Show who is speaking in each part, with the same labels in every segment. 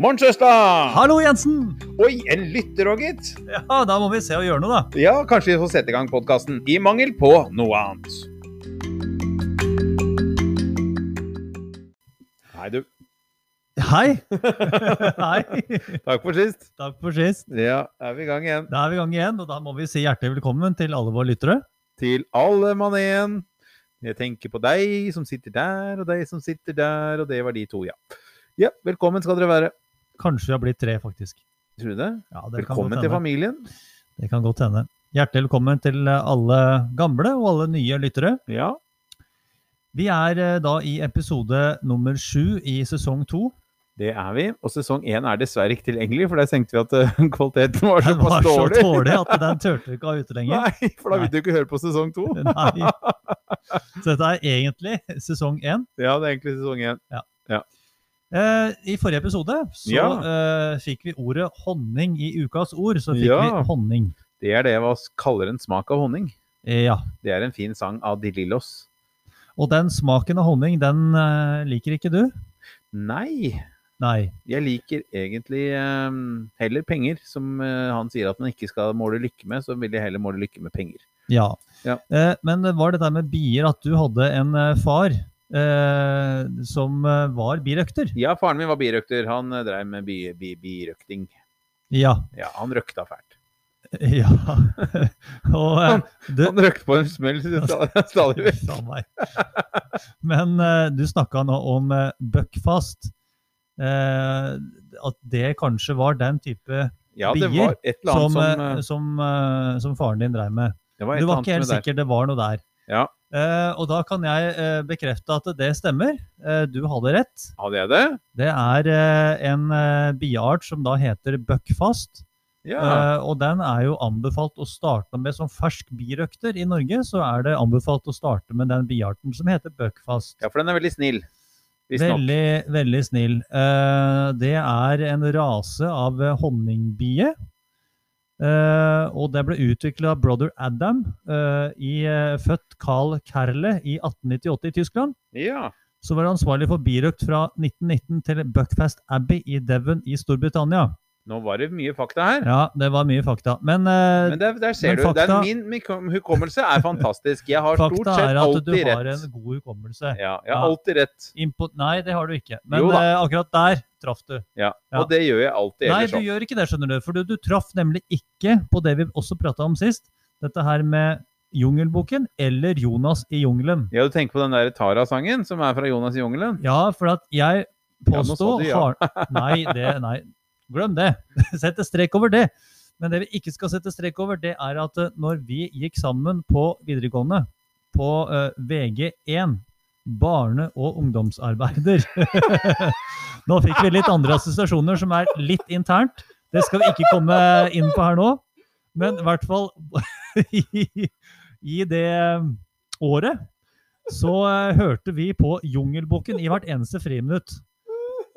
Speaker 1: Morn, Sjøstad!
Speaker 2: Hallo, Jensen!
Speaker 1: Oi, en lytter òg, gitt.
Speaker 2: Ja, da må vi se og gjøre noe, da.
Speaker 1: Ja, kanskje vi får sette i gang podkasten i mangel på noe annet. Hei, du.
Speaker 2: Hei! Hei.
Speaker 1: Takk for sist.
Speaker 2: Takk for sist.
Speaker 1: Ja, er vi i gang igjen.
Speaker 2: Da er vi i gang igjen, og da må vi si hjertelig velkommen til alle våre lyttere.
Speaker 1: Til alle mann igjen. Jeg tenker på deg som sitter der, og deg som sitter der, og det var de to, ja. Ja, velkommen skal dere være.
Speaker 2: Kanskje vi har blitt tre, faktisk.
Speaker 1: Tror du det?
Speaker 2: Ja,
Speaker 1: Velkommen til familien.
Speaker 2: Det kan godt hende. Hjertelig velkommen til alle gamle og alle nye lyttere.
Speaker 1: Ja.
Speaker 2: Vi er eh, da i episode nummer sju i sesong to.
Speaker 1: Det er vi. Og sesong én er dessverre ikke tilgjengelig, for der tenkte vi at eh, kvaliteten var
Speaker 2: Den
Speaker 1: såpass
Speaker 2: var så
Speaker 1: dårlig.
Speaker 2: dårlig at den turte vi ikke ha ute lenger.
Speaker 1: Nei, for da vil du ikke høre på sesong to.
Speaker 2: Nei. Så dette er egentlig sesong én.
Speaker 1: Ja, det er egentlig sesong én.
Speaker 2: Eh, I forrige episode så eh, fikk vi ordet honning i ukas ord. Så fikk
Speaker 1: Ja.
Speaker 2: vi honning.
Speaker 1: Det er det hva vi kaller en smak av honning.
Speaker 2: Eh, Ja.
Speaker 1: Det er en fin sang av De Lillos.
Speaker 2: Og den smaken av honning, den eh, liker ikke du?
Speaker 1: Nei,
Speaker 2: Nei.
Speaker 1: jeg liker egentlig eh, heller penger, som eh, han sier at man ikke skal måle lykke med, så vil jeg heller måle lykke med penger.
Speaker 2: Ja.
Speaker 1: Ja.
Speaker 2: Eh, men var det der med bier at du hadde en eh, far eh, som eh, var birøkter?
Speaker 1: Ja, faren min var birøkter. Han eh, drev med bi, bi, birøkting.
Speaker 2: Ja.
Speaker 1: Ja, han røkta fælt.
Speaker 2: ja. Og eh, du
Speaker 1: Han røkte på en smell stadig, stadig vekk.
Speaker 2: Uff a meg. Men eh, du snakka nå om eh, Buckfast. Eh, at det kanskje var den type
Speaker 1: Ja, det
Speaker 2: Bier
Speaker 1: var et eller
Speaker 2: som,
Speaker 1: annet som, eh,
Speaker 2: eh, som, eh, som faren din drev med.
Speaker 1: det var et
Speaker 2: Du
Speaker 1: eller
Speaker 2: var
Speaker 1: annet
Speaker 2: ikke helt
Speaker 1: med der.
Speaker 2: sikker det var noe der.
Speaker 1: Ja.
Speaker 2: Eh, og da kan jeg eh, bekrefte at det stemmer. Eh, du hadde rett.
Speaker 1: Hadde jeg det?
Speaker 2: Det er eh, en eh, biart som da heter buckfast.
Speaker 1: Ja.
Speaker 2: Eh, og den er jo anbefalt å starte med som fersk birøkter i Norge. Så er det anbefalt å starte med den biarten som heter buckfast.
Speaker 1: ja, for den er veldig snill. Visstnok.
Speaker 2: Veldig, veldig snill. Eh, det er en rase av eh, honningbie. Eh, og det ble utvikla av brother Adam, eh, i, eh, født Carl Kerle i 1898 i Tyskland.
Speaker 1: Ja.
Speaker 2: Så var han ansvarlig for birøkt fra 1919 til Buckfast Abbey i Devon i Storbritannia.
Speaker 1: Nå var det mye fakta her.
Speaker 2: Ja, det var mye fakta. Men, eh,
Speaker 1: Men der, der ser du.
Speaker 2: men
Speaker 1: Den,
Speaker 2: fakta-
Speaker 1: min mik- hukommelse er fantastisk. Jeg har stort
Speaker 2: fakta
Speaker 1: sett
Speaker 2: er at du
Speaker 1: alltid
Speaker 2: har
Speaker 1: rett.
Speaker 2: en god hukommelse.
Speaker 1: Ja, jeg har
Speaker 2: Ja.
Speaker 1: alltid rett.
Speaker 2: Impo nei, det har du ikke. Men
Speaker 1: Jo da.
Speaker 2: eh, akkurat der traff du.
Speaker 1: Ja.
Speaker 2: Ja.
Speaker 1: Og det gjør jeg alltid
Speaker 2: Nei,
Speaker 1: ellers
Speaker 2: du
Speaker 1: òg.
Speaker 2: gjør ikke det, skjønner du. For du, du traff nemlig ikke på det vi også prata om sist. Dette her med Jungelboken eller Jonas i jungelen.
Speaker 1: Ja, du tenker på den der Tara-sangen som er fra Jonas i jungelen?
Speaker 2: Ja, for at jeg
Speaker 1: Ja, nå sa
Speaker 2: påstod
Speaker 1: du ja.
Speaker 2: har- Nei, det, nei, glem det. Sett en strek over det. Men det vi ikke skal sette strek over, det er at eh, når vi gikk sammen på videregående, på eh, VG1, barne- og ungdomsarbeider Nå fikk vi litt andre assosiasjoner som er litt internt. Det skal vi ikke komme inn på her nå. Men i hvert fall i, i det eh, året så eh, hørte vi på Jungelbukken i hvert eneste friminutt.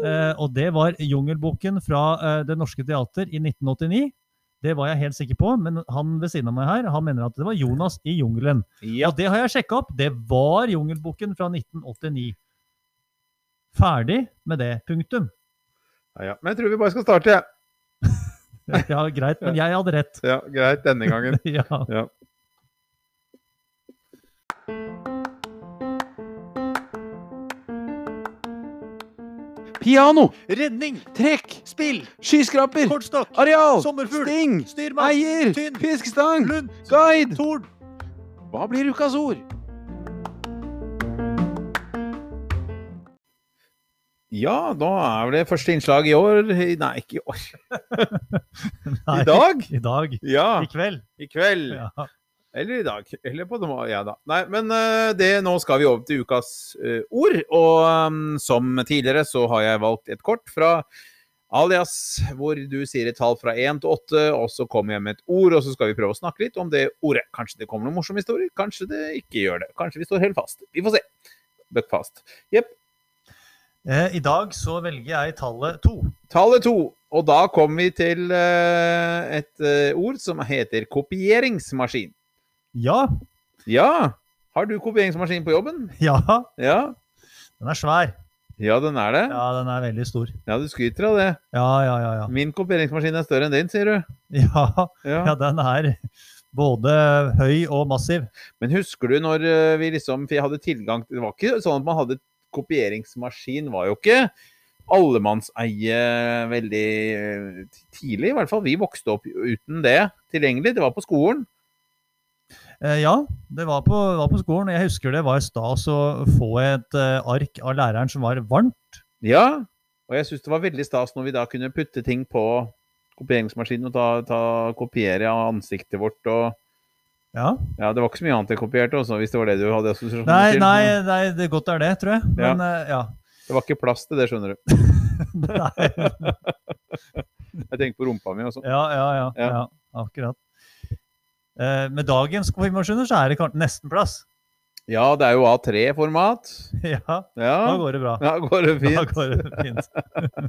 Speaker 2: Eh, og det var Jungelbukken fra eh, Det Norske Teater i 1989. Det var jeg helt sikker på, men han ved siden av meg her, han mener at det var Jonas i jungelen.
Speaker 1: Ja.
Speaker 2: Og det har jeg sjekka opp. Det var Jungelbukken fra 1989. Ferdig med det. Punktum.
Speaker 1: Ja, ja. Men jeg tror vi bare skal starte, jeg.
Speaker 2: Ja, greit, men jeg hadde rett.
Speaker 1: Ja. greit denne gangen.
Speaker 2: Ja.
Speaker 1: Ja.
Speaker 3: Piano,
Speaker 2: Redning,
Speaker 3: trekk,
Speaker 2: spill,
Speaker 3: skyskraper,
Speaker 2: kortstokk,
Speaker 3: areal,
Speaker 2: sommerfugl,
Speaker 3: sting,
Speaker 2: styrmann,
Speaker 3: eier,
Speaker 2: tynn,
Speaker 3: fiskestang,
Speaker 2: lund,
Speaker 3: guide.
Speaker 2: torn.
Speaker 3: Hva blir ukas ord?
Speaker 1: Ja, da er vel det første innslag i år i- Nei, ikke i år.
Speaker 2: Nei,
Speaker 1: I dag?
Speaker 2: I dag.
Speaker 1: Ja.
Speaker 2: I kveld.
Speaker 1: I kveld.
Speaker 2: Ja.
Speaker 1: Eller i dag. Eller på dem- Ja da. Nei, men eh, det, nå skal vi over til ukas eh, ord. Og ehm, som tidligere så har jeg valgt et kort fra Alias, hvor du sier et tall fra 1 til 8, og så kommer jeg med et ord, og så skal vi prøve å snakke litt om det ordet. Kanskje det kommer noen morsomme historier, kanskje det ikke gjør det. Kanskje vi står helt fast. Vi får se. Buck fast. Jepp.
Speaker 2: Eh, I dag så velger jeg tallet to.
Speaker 1: Tallet 2. Og da kommer vi til eh, et eh, ord som heter kopieringsmaskin.
Speaker 2: Ja.
Speaker 1: Ja, har du kopieringsmaskin på jobben?
Speaker 2: Ja.
Speaker 1: Ja.
Speaker 2: Den er svær.
Speaker 1: Ja, den er det?
Speaker 2: Ja, den er veldig stor.
Speaker 1: Ja, du skryter av det.
Speaker 2: Ja, ja, ja. Ja,
Speaker 1: Min kopieringsmaskin er større enn din, sier du.
Speaker 2: ja,
Speaker 1: Ja.
Speaker 2: ja den er både høy og massiv.
Speaker 1: Men husker du når eh, vi liksom For jeg hadde tilgang til Det var ikke sånn at man hadde kopieringsmaskin, var jo ikke allemannseie veldig eh, ti- tidlig. I hvert fall vi vokste opp uten det tilgjengelig. Det var på skolen.
Speaker 2: Eh, Ja, det var på, var på skolen, og jeg husker det var stas å få et eh, ark av læreren som var varmt.
Speaker 1: Ja, og jeg syns det var veldig stas når vi da kunne putte ting på kopieringsmaskinen og ta, ta, kopiere av ansiktet vårt og
Speaker 2: Ja.
Speaker 1: Ja, det var ikke så mye annet jeg kopierte også, hvis det var det du hadde assosiasjoner
Speaker 2: Nei,
Speaker 1: til.
Speaker 2: nei, nei, det godt er det, tror jeg.
Speaker 1: Ja.
Speaker 2: Men eh, ja.
Speaker 1: Det var ikke plass til det, skjønner du.
Speaker 2: Nei.
Speaker 1: Jeg tenker på rumpa mi og sånn.
Speaker 2: Ja, ja, ja.
Speaker 1: Ja.
Speaker 2: ja. Akkurat. Eh, med dagens konfirmasjoner så er det kanskje nesten plass.
Speaker 1: Ja, det er jo A3-format.
Speaker 2: Ja, da
Speaker 1: Ja.
Speaker 2: går det bra.
Speaker 1: ja, går det
Speaker 2: Da
Speaker 1: fint?
Speaker 2: går det fint.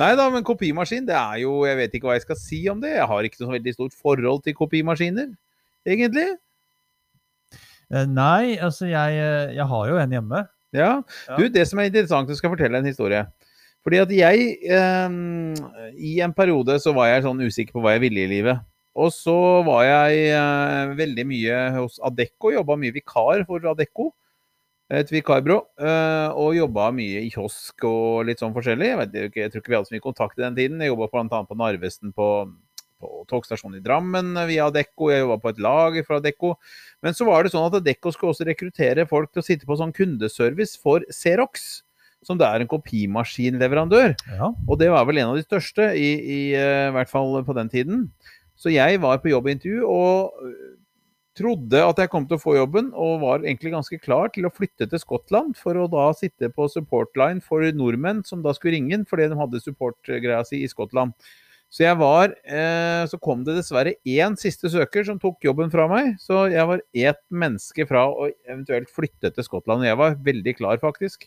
Speaker 1: Nei da, men kopimaskin, det er jo Jeg vet ikke hva jeg skal si om det. Jeg har ikke noe veldig stort forhold til kopimaskiner, egentlig.
Speaker 2: Eh, Nei, altså jeg, eh, jeg har jo en hjemme.
Speaker 1: Ja.
Speaker 2: Ja.
Speaker 1: Du, det som er interessant, jeg skal fortelle en historie. Fordi at jeg eh, I en periode så var jeg sånn usikker på hva jeg ville i livet. Og så var jeg eh, veldig mye hos Adecco, jobba mye vikar for Adecco. Et vikarbyrå. Eh, og jobba mye i kiosk og litt sånn forskjellig. Jeg, vet, ikke- jeg tror ikke vi hadde så mye kontakt i den tiden. Jeg jobba bl.a. på Narvesen på, på togstasjonen i Drammen eh, via Adecco. Jeg jobba på et lager for Adecco. Men så var det sånn at Adecco skulle også rekruttere folk til å sitte på sånn kundeservice for Xerox, som det er en kopimaskinleverandør.
Speaker 2: Ja.
Speaker 1: Og det var vel en av de største, i, i eh, hvert fall på den tiden. Så jeg var på jobbintervju og eh, trodde at jeg kom til å få jobben, og var egentlig ganske klar til å flytte til Skottland for å da sitte på supportline for nordmenn som da skulle ringe inn fordi de hadde supportgreia si i Skottland. Så jeg var eh, Så kom det dessverre én siste søker som tok jobben fra meg. Så jeg var ett menneske fra å eventuelt flytte til Skottland. Og jeg var veldig klar, faktisk.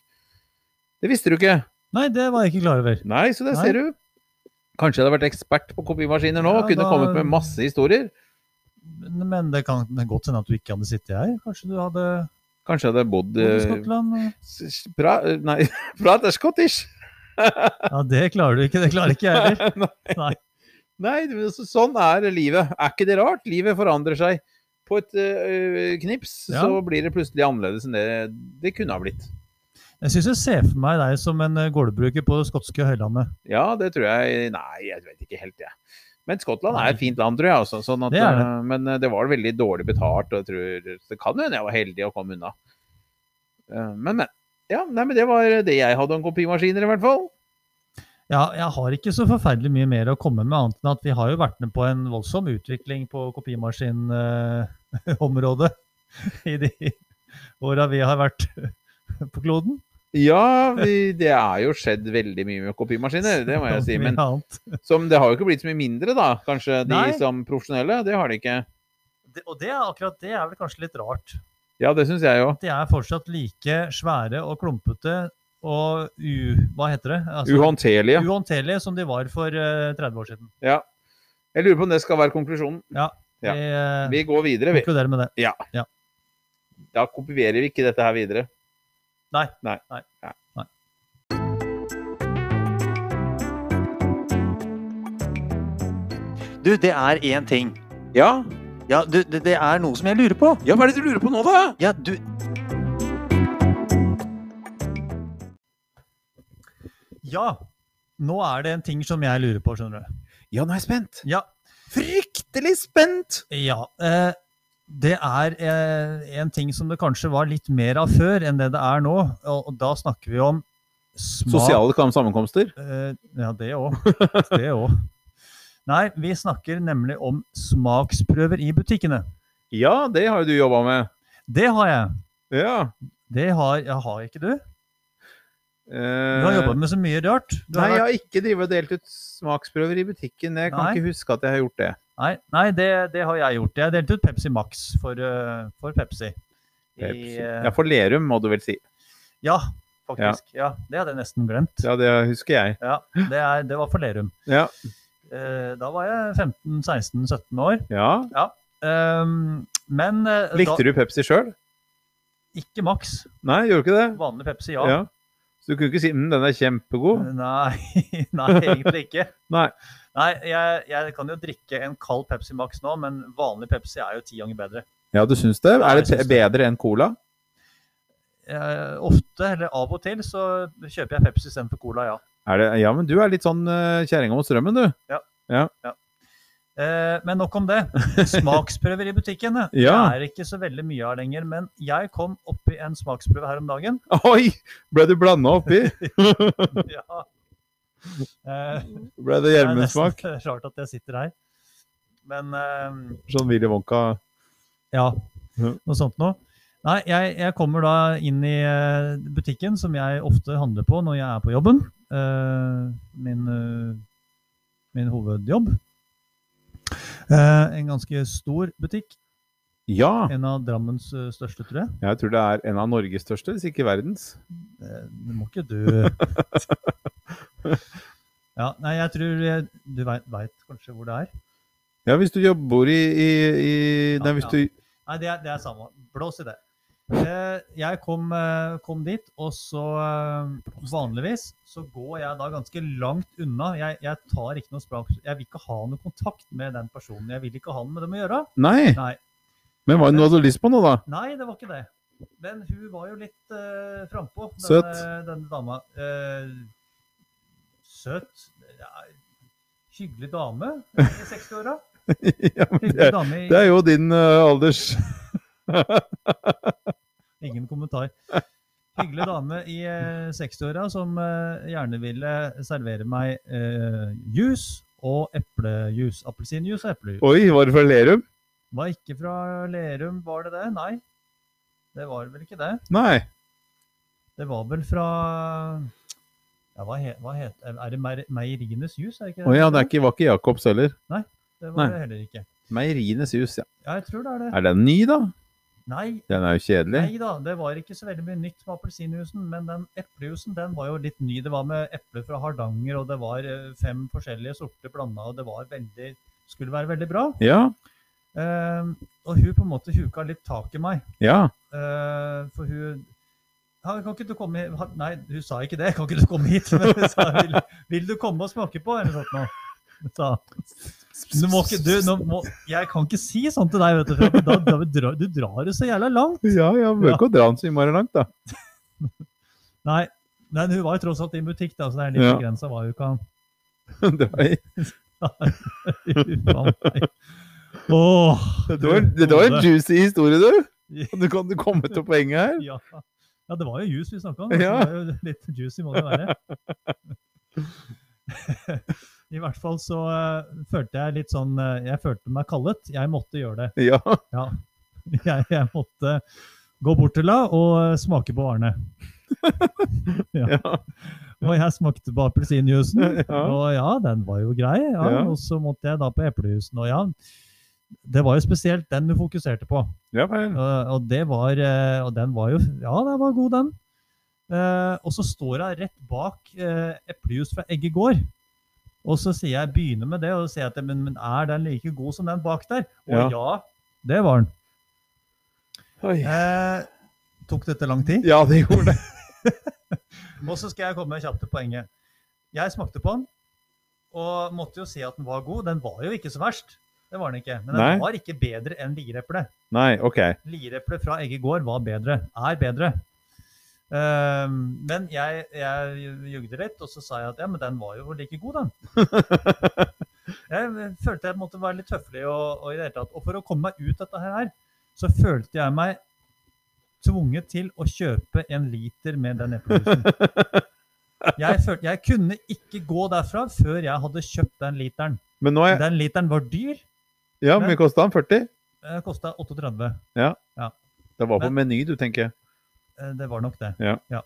Speaker 1: Det visste du ikke.
Speaker 2: Nei, det var jeg ikke klar over.
Speaker 1: Nei, så det
Speaker 2: Nei.
Speaker 1: ser du. Kanskje jeg hadde vært ekspert på kopimaskiner nå og
Speaker 2: Ja,
Speaker 1: kunne
Speaker 2: da-
Speaker 1: kommet med masse historier.
Speaker 2: Men det kan godt hende at du ikke hadde sittet her. Kanskje du hadde
Speaker 1: Kanskje jeg hadde bodd
Speaker 2: bodd i
Speaker 1: eh,
Speaker 2: Skottland? og-
Speaker 1: s- pra, eh, Nei, prater scottish!
Speaker 2: Ja, det klarer du ikke. Det klarer ikke jeg heller.
Speaker 1: Nei, du, så- sånn er livet. Er ikke det rart? Livet forandrer seg. På et eh, knips
Speaker 2: Ja.
Speaker 1: så blir det plutselig annerledes enn det det kunne ha blitt.
Speaker 2: Jeg syns jeg ser for meg deg som en eh, gårdbruker på det skotske høylandet.
Speaker 1: Ja, det tror jeg Nei, jeg vet ikke helt, jeg. Men Skottland er
Speaker 2: Nei.
Speaker 1: et fint land, tror jeg. Også, sånn at,
Speaker 2: Det er det.
Speaker 1: eh, Men eh, det var veldig dårlig betalt, og jeg tror så Det kan hende jeg var heldig og kom unna. Eh, Men, men. Ja, nei, men det var det jeg hadde om kopimaskiner, i hvert fall.
Speaker 2: Ja, jeg har ikke så forferdelig mye mer å komme med, annet enn at vi har jo vært med på en voldsom utvikling på kopimaskinområdet i de åra vi har vært på kloden.
Speaker 1: Ja, vi, det er jo skjedd veldig mye med kopimaskiner, det må jeg si.
Speaker 2: Mye
Speaker 1: Men
Speaker 2: annet.
Speaker 1: som, det har jo ikke blitt så mye mindre, da. Kanskje de
Speaker 2: Nei.
Speaker 1: som profesjonelle. Det har de ikke.
Speaker 2: Det, og det er akkurat det er vel kanskje litt rart.
Speaker 1: Ja, det syns jeg jo.
Speaker 2: De er fortsatt like svære og klumpete og u... Hva heter det? Altså,
Speaker 1: Uhåndterlige.
Speaker 2: Uhåndterlige som de var for eh, 30 år siden.
Speaker 1: Ja. Jeg lurer på om det skal være konklusjonen. Ja.
Speaker 2: Vi, eh,
Speaker 1: Vi går videre, vi.
Speaker 2: konkluderer med det.
Speaker 1: Da kopierer vi ikke dette her videre.
Speaker 2: Nei.
Speaker 1: Nei.
Speaker 2: Nei.
Speaker 1: Ja.
Speaker 2: Nei.
Speaker 3: Du, det er én ting.
Speaker 1: Ja,
Speaker 3: Ja, du, det, det er noe som jeg lurer på.
Speaker 1: Ja, hva er det du lurer på nå, da?
Speaker 3: Ja, du
Speaker 2: Ja, nå er det en ting som jeg lurer på, skjønner du.
Speaker 1: Ja, nå er jeg spent.
Speaker 2: Ja,
Speaker 1: Fryktelig spent!
Speaker 2: Ja. Eh, det er eh, en ting som det kanskje var litt mer av før enn det det er nå. Og, og da snakker vi om smak
Speaker 1: Sosiale sammenkomster?
Speaker 2: eh, Ja, det òg. Det òg. Nei, vi snakker nemlig om smaksprøver i butikkene.
Speaker 1: Ja, det har jo du jobba med.
Speaker 2: Det har jeg.
Speaker 1: Ja.
Speaker 2: Det har, ja, har ikke du? Du
Speaker 1: eh,
Speaker 2: har jobba med så mye rart. Du
Speaker 1: Nei, jeg
Speaker 2: har vært-
Speaker 1: har ikke drivet og delt ut smaksprøver i butikken. Jeg kan
Speaker 2: Nei.
Speaker 1: ikke huske at jeg har gjort det.
Speaker 2: nei, nei det, det har jeg gjort. Jeg delte ut Pepsi Max for, eh, for Pepsi.
Speaker 1: Pepsi.
Speaker 2: I, eh,
Speaker 1: Ja, For Lerum, må du vel si.
Speaker 2: ja, faktisk. Ja. Det hadde jeg nesten glemt.
Speaker 1: Ja, det husker jeg.
Speaker 2: Ja, det, er, det var for Lerum.
Speaker 1: Ja.
Speaker 2: Eh, da var jeg 15-16-17 år.
Speaker 1: ja.
Speaker 2: Ehm, men eh,
Speaker 1: Likte du Pepsi sjøl?
Speaker 2: da, ikke Max.
Speaker 1: Nei, gjorde du ikke det?
Speaker 2: Vanlig Pepsi, ja. Eh.
Speaker 1: Ja. Så du kunne ikke si mm, 'den er kjempegod'?
Speaker 2: Nei, nei, egentlig ikke.
Speaker 1: Nei.
Speaker 2: Nei, jeg, jeg kan jo drikke en kald Pepsi Max nå, men vanlig Pepsi er jo ti ganger bedre.
Speaker 1: Ja, du syns det?
Speaker 2: Ja,
Speaker 1: Er det
Speaker 2: jeg
Speaker 1: te-
Speaker 2: syns det.
Speaker 1: bedre enn cola?
Speaker 2: Eh, ofte, eller av og til, så kjøper jeg Pepsi istedenfor Cola, ja.
Speaker 1: Er det, ja, men du er litt sånn eh, kjerringa mot strømmen, du.
Speaker 2: Eh, men nok om det. Smaksprøver i butikken det
Speaker 1: Ja.
Speaker 2: er ikke så veldig mye av lenger. Men jeg kom oppi en smaksprøve her om dagen.
Speaker 1: Oi! Ble du blanda oppi?
Speaker 2: Ja. Eh,
Speaker 1: Ble det
Speaker 2: det er nesten
Speaker 1: hjelmesmak?
Speaker 2: rart at jeg sitter her. Men eh,
Speaker 1: Sånn Willy Wonka
Speaker 2: ja,
Speaker 1: Mhm.
Speaker 2: noe sånt noe. Nei, jeg, jeg kommer da inn i eh, butikken som jeg ofte handler på når jeg er på jobben. Eh, min, eh, min hovedjobb. Eh, en ganske stor butikk.
Speaker 1: Ja!
Speaker 2: En av Drammens eh, største, tror jeg.
Speaker 1: Jeg tror det er en av Norges største, hvis ikke verdens.
Speaker 2: Eh, Det må ikke du Ja, nei, jeg tror jeg, Du veit kanskje hvor det er?
Speaker 1: Ja, hvis du jobber bor i, i, i Nei,
Speaker 2: Ja,
Speaker 1: hvis
Speaker 2: ja.
Speaker 1: du
Speaker 2: Nei, det er, det er samme. Blås i det. Eh, Jeg kom, eh, kom dit, og så eh, Vanligvis så går jeg da ganske langt unna. Jeg, jeg tar ikke noe språk. Jeg vil ikke ha noe kontakt med den personen. Jeg vil ikke ha noe med dem å gjøre.
Speaker 1: Nei!
Speaker 2: Nei.
Speaker 1: Men hva er det du hadde lyst på nå, da?
Speaker 2: Nei, det var ikke det. Men hun var jo litt uh, frampå, denne,
Speaker 1: Søt.
Speaker 2: denne dama. Eh, søt ja, Hyggelig dame i 60-åra.
Speaker 1: ja, men det,
Speaker 2: Hyggelig
Speaker 1: er-
Speaker 2: dame i
Speaker 1: det er jo din eh, alders
Speaker 2: Ingen kommentar. Hyggelig dame i eh, 60-åra som eh, gjerne ville servere meg eh, juice og eplejus. Appelsinjuice og eplejus.
Speaker 1: Oi, var det fra Lerum?
Speaker 2: Var ikke fra Lerum, var det det? Nei. Det var vel ikke det.
Speaker 1: Nei.
Speaker 2: Det var vel fra ja, hva, he, hva het, Er det Meir- Meierienes jus? Er det ikke
Speaker 1: Å ja, det er ikke, var ikke Jacobs heller.
Speaker 2: Det var
Speaker 1: nei.
Speaker 2: det heller ikke.
Speaker 1: Meierienes jus, ja.
Speaker 2: Ja, jeg tror det er det.
Speaker 1: Er den ny, da?
Speaker 2: Nei,
Speaker 1: Den er jo kjedelig.
Speaker 2: nei da, det var ikke så veldig mye nytt med appelsinjuicen, men den eplejuicen den var jo litt ny. Det var med epler fra Hardanger, og det var eh, fem forskjellige sorter blanda, og det var veldig, skulle være veldig bra.
Speaker 1: Ja,
Speaker 2: Eh, og hun på en måte huka litt tak i meg,
Speaker 1: ja.
Speaker 2: eh, for hun ja, kan ikke du komme hit? Ha- Nei, hun sa ikke det. Kan ikke du komme hit? Men hun sa, vil, vil du komme og smake på? Eller sånt noe. Sa, Du må ikke, du, nå må, jeg kan ikke si sånn til deg, vet du. For da, da dra, du drar det så jævla langt.
Speaker 1: Ja, ja, bør ikke å dra den så innmari langt, da.
Speaker 2: Nei, men hun var jo tross alt i en butikk, da, så det er litt
Speaker 1: Ja.
Speaker 2: begrensa hva hun kan.
Speaker 1: Det var,
Speaker 2: Faen meg. Åh,
Speaker 1: det var, det var en
Speaker 2: Gode.
Speaker 1: juicy historie, du! Du kan du komme til poenget her.
Speaker 2: ja. ja, det var jo juice vi snakka om. så
Speaker 1: Ja.
Speaker 2: Det var jo litt juicy må det være. I hvert fall så eh, følte jeg litt sånn eh, Jeg følte meg kallet. Jeg måtte gjøre det.
Speaker 1: Ja.
Speaker 2: Ja. Jeg, jeg måtte gå bort til henne og eh, smake på varene.
Speaker 1: ja.
Speaker 2: Og jeg smakte på appelsinjuicen,
Speaker 1: Ja.
Speaker 2: og ja, den var jo grei. Ja.
Speaker 1: Ja.
Speaker 2: Og så måtte jeg da på eplejuicen, og ja. Det var jo spesielt den du fokuserte på.
Speaker 1: Ja vel.
Speaker 2: Eh, og det var eh, Og den var jo Ja, den var god, den. Eh, og så står hun rett bak uh, eplejus fra Egge gård. Og så sier jeg, begynner med det, og så sier jeg at men, men er den like god som den bak der? Og
Speaker 1: Ja.
Speaker 2: ja, det var den.
Speaker 1: Oi.
Speaker 2: Eh, tok dette lang tid?
Speaker 1: Ja, det gjorde det.
Speaker 2: Og så skal jeg komme kjapt til poenget. Jeg smakte på den, og måtte jo si at den var god. Den var jo ikke så verst. Det var den ikke. Men den
Speaker 1: Nei.
Speaker 2: var ikke bedre enn lireple.
Speaker 1: Nei, OK.
Speaker 2: Lireple fra Egge gård var bedre. Er bedre. Ehm, men jeg, jeg jugde litt, og så sa jeg at ja, men den var jo like god, den. jeg følte jeg måtte være litt høflig og, og i det hele tatt. Og for å komme meg ut dette her, så følte jeg meg tvunget til å kjøpe en liter med den eplejusen. Jeg, følte- jeg kunne ikke gå derfra før jeg hadde kjøpt den literen.
Speaker 1: Men nå er
Speaker 2: Den literen var dyr. eh,
Speaker 1: Ja, hvor mye kosta den? 40?
Speaker 2: Kosta 38.
Speaker 1: Det var på meny, du, tenker jeg.
Speaker 2: Eh, Det var nok det.
Speaker 1: Ja.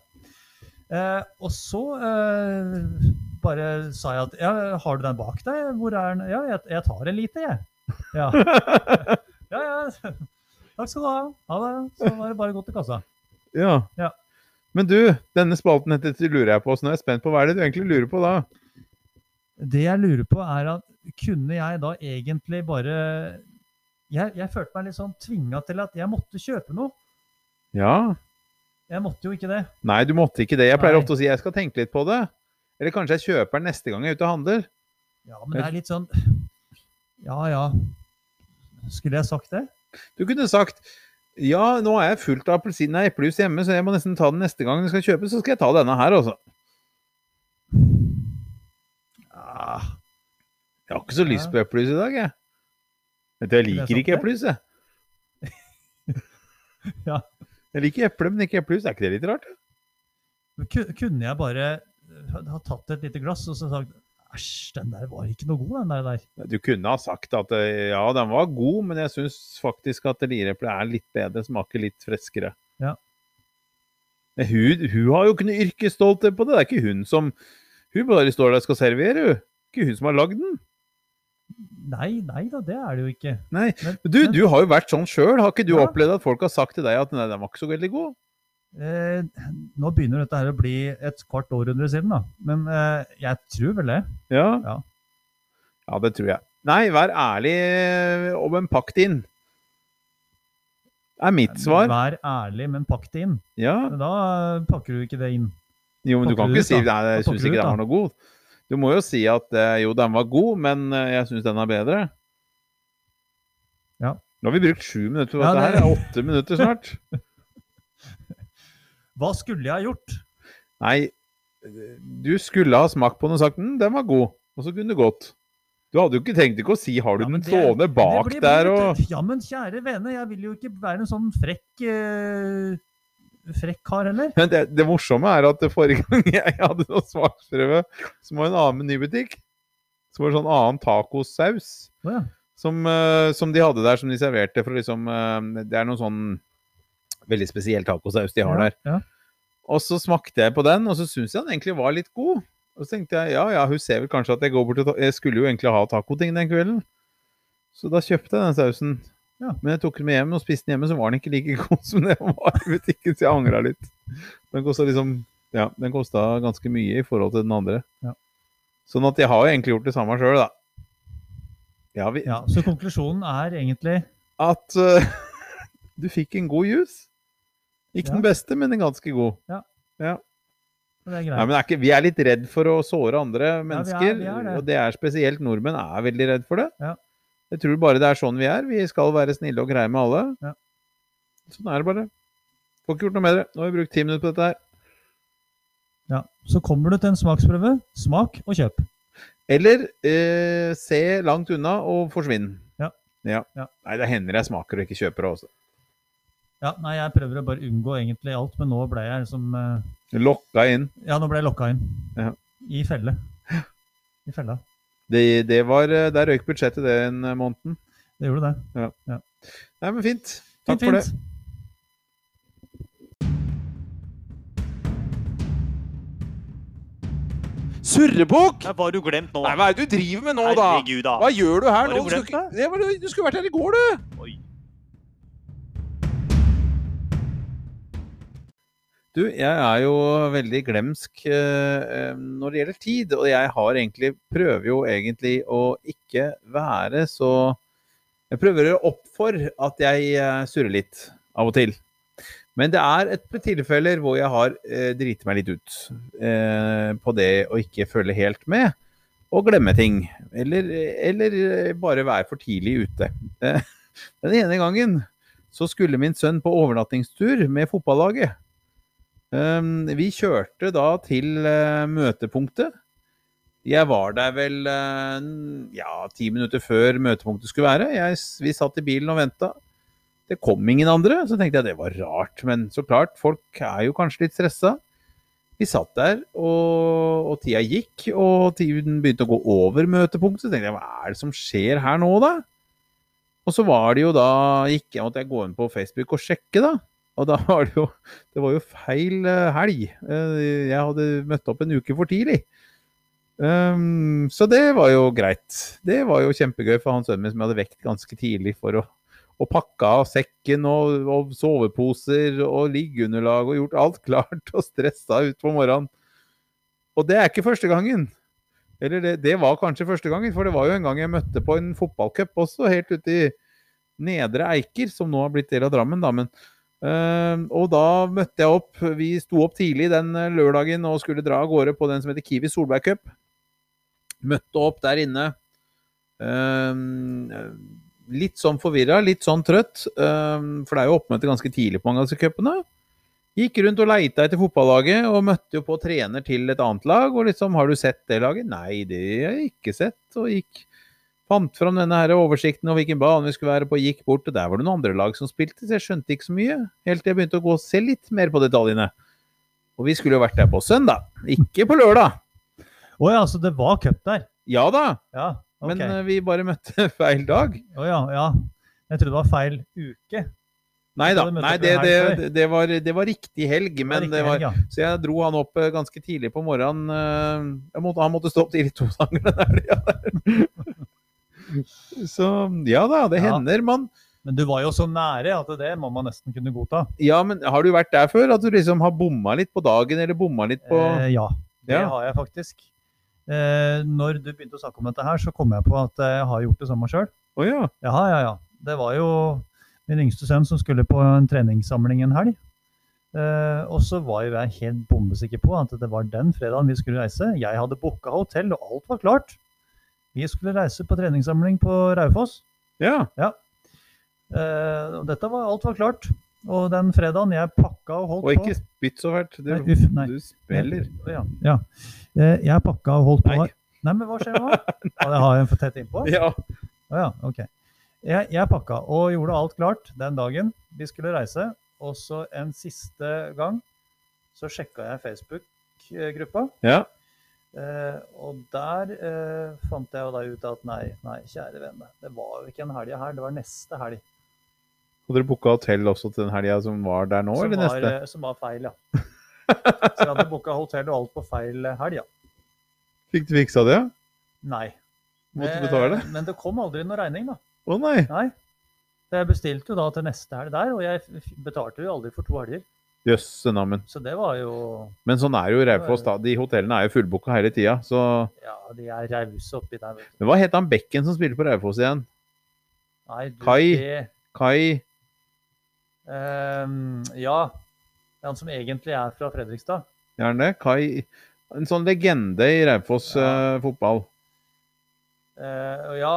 Speaker 2: Eh, og så eh, bare sa jeg at ja, har du den bak deg? Hvor er den? Ja, jeg, jeg tar en liter, jeg. Ja. ja, ja. Takk skal du ha. Ha det. Så var det bare å gå til kassa.
Speaker 1: Ja.
Speaker 2: Ja.
Speaker 1: Men du, denne spalten heter Du lurer jeg på, så nå er jeg spent på hva er det du egentlig lurer på da?
Speaker 2: Det jeg lurer på, er at kunne jeg da egentlig bare jeg, jeg følte meg litt sånn tvinga til at jeg måtte kjøpe noe.
Speaker 1: Ja.
Speaker 2: Jeg måtte jo ikke det.
Speaker 1: Nei, du måtte ikke det. Jeg pleier
Speaker 2: Nei.
Speaker 1: ofte å si jeg skal tenke litt på det. Eller kanskje jeg kjøper den neste gang jeg er ute og handler.
Speaker 2: Ja, men det er litt sånn Ja ja. Skulle jeg sagt det?
Speaker 1: Du kunne sagt ja, nå er jeg fullt av appelsin og eplejus hjemme, så jeg må nesten ta den neste gang jeg skal kjøpe, så skal jeg ta denne her, altså.
Speaker 2: Ja,
Speaker 1: Jeg har ikke så lyst
Speaker 2: Ja.
Speaker 1: på eplejus i dag, jeg. Vet du, jeg
Speaker 2: Det er
Speaker 1: liker
Speaker 2: sant,
Speaker 1: ikke
Speaker 2: det.
Speaker 1: eplejus, jeg.
Speaker 2: Ja.
Speaker 1: Jeg liker eple, men ikke eplejus. Er ikke det litt rart?
Speaker 2: Men ku- Kunne jeg bare ha ha tatt et lite glass og så sagt Æsj, den der var ikke noe god, den der. der.
Speaker 1: Du kunne ha sagt at eh, ja, den var god, men jeg syns faktisk at liereple er litt bedre, smaker litt freskere.
Speaker 2: Ja.
Speaker 1: Men Hun, hun har jo ikke noe yrkesstolthet på det. Det er ikke hun som Hun bare står der og skal servere, hun. Ikke hun som har lagd den.
Speaker 2: Nei, nei da, det er det jo ikke.
Speaker 1: Nei,
Speaker 2: Men,
Speaker 1: Men Du, du har jo vært sånn sjøl. Har ikke du
Speaker 2: Ja.
Speaker 1: opplevd at folk har sagt til deg at nei, den var ikke så veldig god?
Speaker 2: Eh, nå begynner dette her å bli et kvart århundre siden, da. Men eh, jeg tror vel det.
Speaker 1: Ja.
Speaker 2: Ja.
Speaker 1: ja, det tror jeg. Nei, vær ærlig om en pakk det inn. Er mitt svar.
Speaker 2: Vær ærlig, men pakk det inn.
Speaker 1: Ja.
Speaker 2: Men Da eh, pakker du ikke det inn.
Speaker 1: Jo, men du kan
Speaker 2: Pakker du
Speaker 1: ikke
Speaker 2: ut,
Speaker 1: si
Speaker 2: da?
Speaker 1: nei, jeg
Speaker 2: Da pakker
Speaker 1: syns
Speaker 2: du
Speaker 1: ikke
Speaker 2: ut,
Speaker 1: den var
Speaker 2: da.
Speaker 1: noe god. Du må jo si at eh, jo, den var god, men eh, jeg syns den er bedre.
Speaker 2: Ja.
Speaker 1: Nå har vi brukt sju minutter på
Speaker 2: Ja,
Speaker 1: dette
Speaker 2: det-
Speaker 1: her. Det er åtte minutter snart.
Speaker 2: Hva skulle jeg ha gjort?
Speaker 1: Nei, du skulle ha smakt på den og sagt mm, 'den var god', og så kunne det gått. Du hadde jo ikke trengt ikke å si 'har du
Speaker 2: Ja, men
Speaker 1: den
Speaker 2: det-
Speaker 1: stående
Speaker 2: det
Speaker 1: bak
Speaker 2: blir-
Speaker 1: der'
Speaker 2: blir-
Speaker 1: og
Speaker 2: Ja, men kjære vene, jeg vil jo ikke være en sånn frekk eh, frekk kar heller.
Speaker 1: Men det, det morsomme er at det forrige gang jeg hadde noe smaksprøve, som var en annen menybutikk, som var sånn annen tacosaus
Speaker 2: Å ja.
Speaker 1: som, eh, som de hadde der, som de serverte for liksom eh, Det er noe sånn veldig spesiell tacosaus de har der.
Speaker 2: Ja, ja.
Speaker 1: Og så smakte jeg på den, og så syntes jeg den egentlig var litt god. Og så tenkte jeg ja, ja, hun ser vel kanskje at jeg går bort og ta Jeg skulle jo egentlig ha tacoting den kvelden. Så da kjøpte jeg den sausen.
Speaker 2: Ja.
Speaker 1: Men jeg tok den med hjem og spiste den hjemme, så var den ikke like god som den var i butikken, så jeg angra litt. Den kosta liksom Ja, den kosta ganske mye i forhold til den andre.
Speaker 2: Ja.
Speaker 1: Sånn at jeg har jo egentlig gjort det samme sjøl, da. Ja, vi,
Speaker 2: ja, Så konklusjonen er egentlig
Speaker 1: at eh, du fikk en god juice. Ikke
Speaker 2: Ja.
Speaker 1: den beste, men en ganske god.
Speaker 2: Det er
Speaker 1: Nei,
Speaker 2: greit.
Speaker 1: men er ikke, vi er litt redd for å såre andre mennesker,
Speaker 2: vi er det.
Speaker 1: og det er spesielt nordmenn er veldig redd for det.
Speaker 2: Ja.
Speaker 1: Jeg tror bare det er sånn vi er. Vi skal være snille og greie med alle.
Speaker 2: Ja.
Speaker 1: Sånn er det bare. Får ikke gjort noe med det. Nå har vi brukt ti minutter på dette her.
Speaker 2: Ja. Så kommer du til en smaksprøve. Smak og kjøp.
Speaker 1: Eller eh, se langt unna og forsvinn.
Speaker 2: Ja.
Speaker 1: Ja.
Speaker 2: Ja.
Speaker 1: Nei, det hender jeg smaker og ikke kjøper det også.
Speaker 2: Ja, nei, jeg prøver å bare unngå egentlig alt, men nå ble jeg liksom eh,
Speaker 1: Lokka inn.
Speaker 2: Ja, nå ble jeg lokka inn.
Speaker 1: Ja.
Speaker 2: I felle. I fella.
Speaker 1: Det, det var, eh, der røyk budsjettet den eh, måneden.
Speaker 2: Det gjorde det.
Speaker 1: Nei, men fint. Takk
Speaker 2: Fint,
Speaker 1: for det.
Speaker 2: fint.
Speaker 1: Surrebukk!
Speaker 3: Hva har du glemt nå?
Speaker 1: Nei, hva er det du driver med nå, da?
Speaker 3: Herregud, da.
Speaker 1: Hva gjør du her
Speaker 3: Har
Speaker 1: nå?
Speaker 3: du
Speaker 1: Du skal
Speaker 3: glemt
Speaker 1: ikke- Det var- Du skulle vært her i går, du!
Speaker 3: Oi.
Speaker 1: Du, jeg er jo veldig glemsk eh, eh, når det gjelder tid, og jeg har egentlig prøver jo egentlig å ikke være så Jeg prøver å gjøre opp for at jeg eh, surrer litt av og til. Men det er et par tilfeller hvor jeg har eh, driti meg litt ut eh, på det å ikke følge helt med og glemme ting. Eller, eller eh, bare være for tidlig ute. Eh, Den ene gangen så skulle min sønn på overnattingstur med fotballaget. Um, Vi kjørte da til eh, møtepunktet. Jeg var der vel eh, n- ja, ti minutter før møtepunktet skulle være. Jeg, s- vi satt i bilen og venta. Det kom ingen andre, så tenkte jeg det var rart. Men så klart, folk er jo kanskje litt stressa. Vi satt der, og, og tida gikk, og tiden begynte å gå over møtepunktet. Så tenkte jeg, hva er det som skjer her nå, da? Og så var det jo da gikk jeg, måtte jeg gå inn på Facebook og sjekke, da. Og da var det jo Det var jo feil eh, helg. Eh, Jeg hadde møtt opp en uke for tidlig. Ehm, så det var jo greit. Det var jo kjempegøy for han sønnen min som jeg hadde vekt ganske tidlig for å og pakka av sekken og, og soveposer og liggeunderlag og gjort alt klart og stressa ut på morgenen. Og det er ikke første gangen. Eller det, det var kanskje første gangen, for det var jo en gang jeg møtte på en fotballcup også, helt ute i Nedre Eiker, som nå har blitt del av Drammen, da. Men Eh, og da møtte jeg opp. Vi sto opp tidlig den eh, lørdagen og skulle dra av gårde på den som heter Kiwi Solberg Cup. Møtte opp der inne. eh, litt sånn forvirra, litt sånn trøtt. eh, for det er jo oppmøte ganske tidlig på mange av disse cupene. Gikk rundt og leita etter fotballaget, og møtte jo på trener til et annet lag. Og liksom, har du sett det laget? Nei, det har jeg ikke sett. Og gikk Fant fram denne her oversikten over hvilken bane vi skulle være på, gikk bort, og der var det noen andre lag som spilte, så jeg skjønte ikke så mye. Helt til jeg begynte å gå og se litt mer på detaljene. Og vi skulle jo vært der på søndag, ikke på lørdag.
Speaker 2: Å ja, så det var cup der?
Speaker 1: Ja da,
Speaker 2: Ja, ok.
Speaker 1: men eh, vi bare møtte feil dag.
Speaker 2: Å ja, ja. Jeg trodde det var feil uke.
Speaker 1: Nei da,
Speaker 2: Så du møtte
Speaker 1: nei,
Speaker 2: opp
Speaker 1: det,
Speaker 2: en
Speaker 1: det,
Speaker 2: helg
Speaker 1: det, var, det var riktig helg, men det var
Speaker 2: ja.
Speaker 1: Så jeg dro han opp eh, ganske tidlig på morgenen. eh, Jeg måtte, han måtte stå opp tidlig to ganger den helga der. Så ja da, det
Speaker 2: Ja.
Speaker 1: hender, mann.
Speaker 2: Men du var jo så nære at det må man nesten kunne godta.
Speaker 1: Ja, men har du vært der før? At du liksom har bomma litt på dagen, eller bomma litt på
Speaker 2: Eh, ja, det
Speaker 1: Ja.
Speaker 2: har jeg faktisk. Eh, når du begynte å snakke om dette her, så kom jeg på at eh, jeg har gjort det samme sjøl.
Speaker 1: Å ja.
Speaker 2: Ja, ja, ja. Det var jo min yngste sønn som skulle på en treningssamling en helg. Eh, og så var jo jeg helt bombesikker på at det var den fredagen vi skulle reise. Jeg hadde booka hotell, og alt var klart. Vi skulle reise på treningssamling på Raufoss.
Speaker 1: Ja.
Speaker 2: Eh, og dette var alt var klart. Og den fredagen jeg pakka og holdt
Speaker 1: Og ikke
Speaker 2: på
Speaker 1: spytt så fælt. Du,
Speaker 2: Nei, uff, nei.
Speaker 1: du spiller.
Speaker 2: Ja, ja. Eh, jeg pakka og holdt på
Speaker 1: Nei.
Speaker 2: Nei, men hva skjer nå? Ja, det har jeg for tett innpå.
Speaker 1: Ja.
Speaker 2: Å ja, ok. Jeg, jeg pakka og gjorde alt klart den dagen vi skulle reise. Og så en siste gang så sjekka jeg Facebook-gruppa.
Speaker 1: ja.
Speaker 2: Eh, og der eh, fant jeg jo da ut at nei, nei, kjære vene, det var jo ikke en helg her, det var neste helg.
Speaker 1: Og dere booka hotell også til den helga som var der nå,
Speaker 2: som,
Speaker 1: eller
Speaker 2: var,
Speaker 1: neste?
Speaker 2: eh, som var feil, ja. Så jeg hadde booka hotell og alt på feil eh, helg, ja.
Speaker 1: Fikk du fiksa det?
Speaker 2: Nei.
Speaker 1: Måtte
Speaker 2: Eh,
Speaker 1: du betale?
Speaker 2: Men det kom aldri noe regning, da.
Speaker 1: Å nei!
Speaker 2: Nei. Så Jeg bestilte jo da til neste helg der, og jeg f- betalte jo aldri for to helger.
Speaker 1: Jøsse nammen.
Speaker 2: Så det var jo
Speaker 1: Men sånn er jo Raufoss, da. De hotellene er jo fullbooka hele tida, så
Speaker 2: Ja, de er rause oppi der, vet du.
Speaker 1: Men Hva het han bekken som spiller på Raufoss igjen?
Speaker 2: Nei, du,
Speaker 1: Kai?
Speaker 2: det,
Speaker 1: Kai
Speaker 2: ehm, ja. Det er Han som egentlig er fra Fredrikstad.
Speaker 1: Er han det? Kai En sånn legende i Raufoss
Speaker 2: Ja.
Speaker 1: eh, fotball.
Speaker 2: Eh, og ja.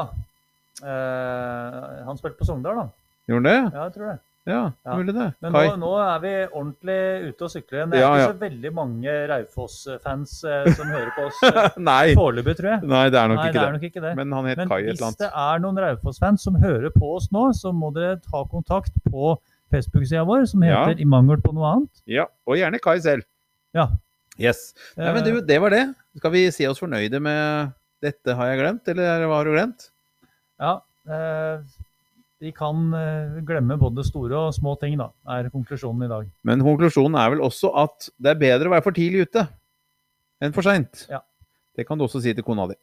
Speaker 2: eh, han spilte på Sogndal, da.
Speaker 1: Gjorde han det?
Speaker 2: Ja, jeg tror det.
Speaker 1: Ja,
Speaker 2: Ja.
Speaker 1: mulig det.
Speaker 2: Men
Speaker 1: Kai.
Speaker 2: nå, nå er vi ordentlig ute og sykler igjen. Det er
Speaker 1: Ja,
Speaker 2: ikke
Speaker 1: ja.
Speaker 2: så veldig mange Raufoss-fans eh, som hører på oss eh,
Speaker 1: Nei.
Speaker 2: foreløpig, tror jeg.
Speaker 1: Nei, det er nok
Speaker 2: Nei,
Speaker 1: ikke
Speaker 2: det
Speaker 1: det.
Speaker 2: er nok ikke det.
Speaker 1: Men han het
Speaker 2: Men
Speaker 1: Kai et
Speaker 2: hvis
Speaker 1: eller annet.
Speaker 2: det er noen Raufoss-fans som hører på oss nå, så må dere ta kontakt på Facebook-sida vår, som
Speaker 1: Ja.
Speaker 2: heter I mangel på noe annet.
Speaker 1: Ja, og gjerne Kai selv.
Speaker 2: Ja.
Speaker 1: Yes. Nei, men
Speaker 2: Eh,
Speaker 1: du, det var det. Skal vi si oss fornøyde med 'dette har jeg glemt', eller hva har du glemt?
Speaker 2: Ja, eh, vi kan eh, glemme både store og små ting, da, er konklusjonen i dag.
Speaker 1: Men konklusjonen er vel også at det er bedre å være for tidlig ute enn for seint.
Speaker 2: Ja.
Speaker 1: Det kan du også si til kona di.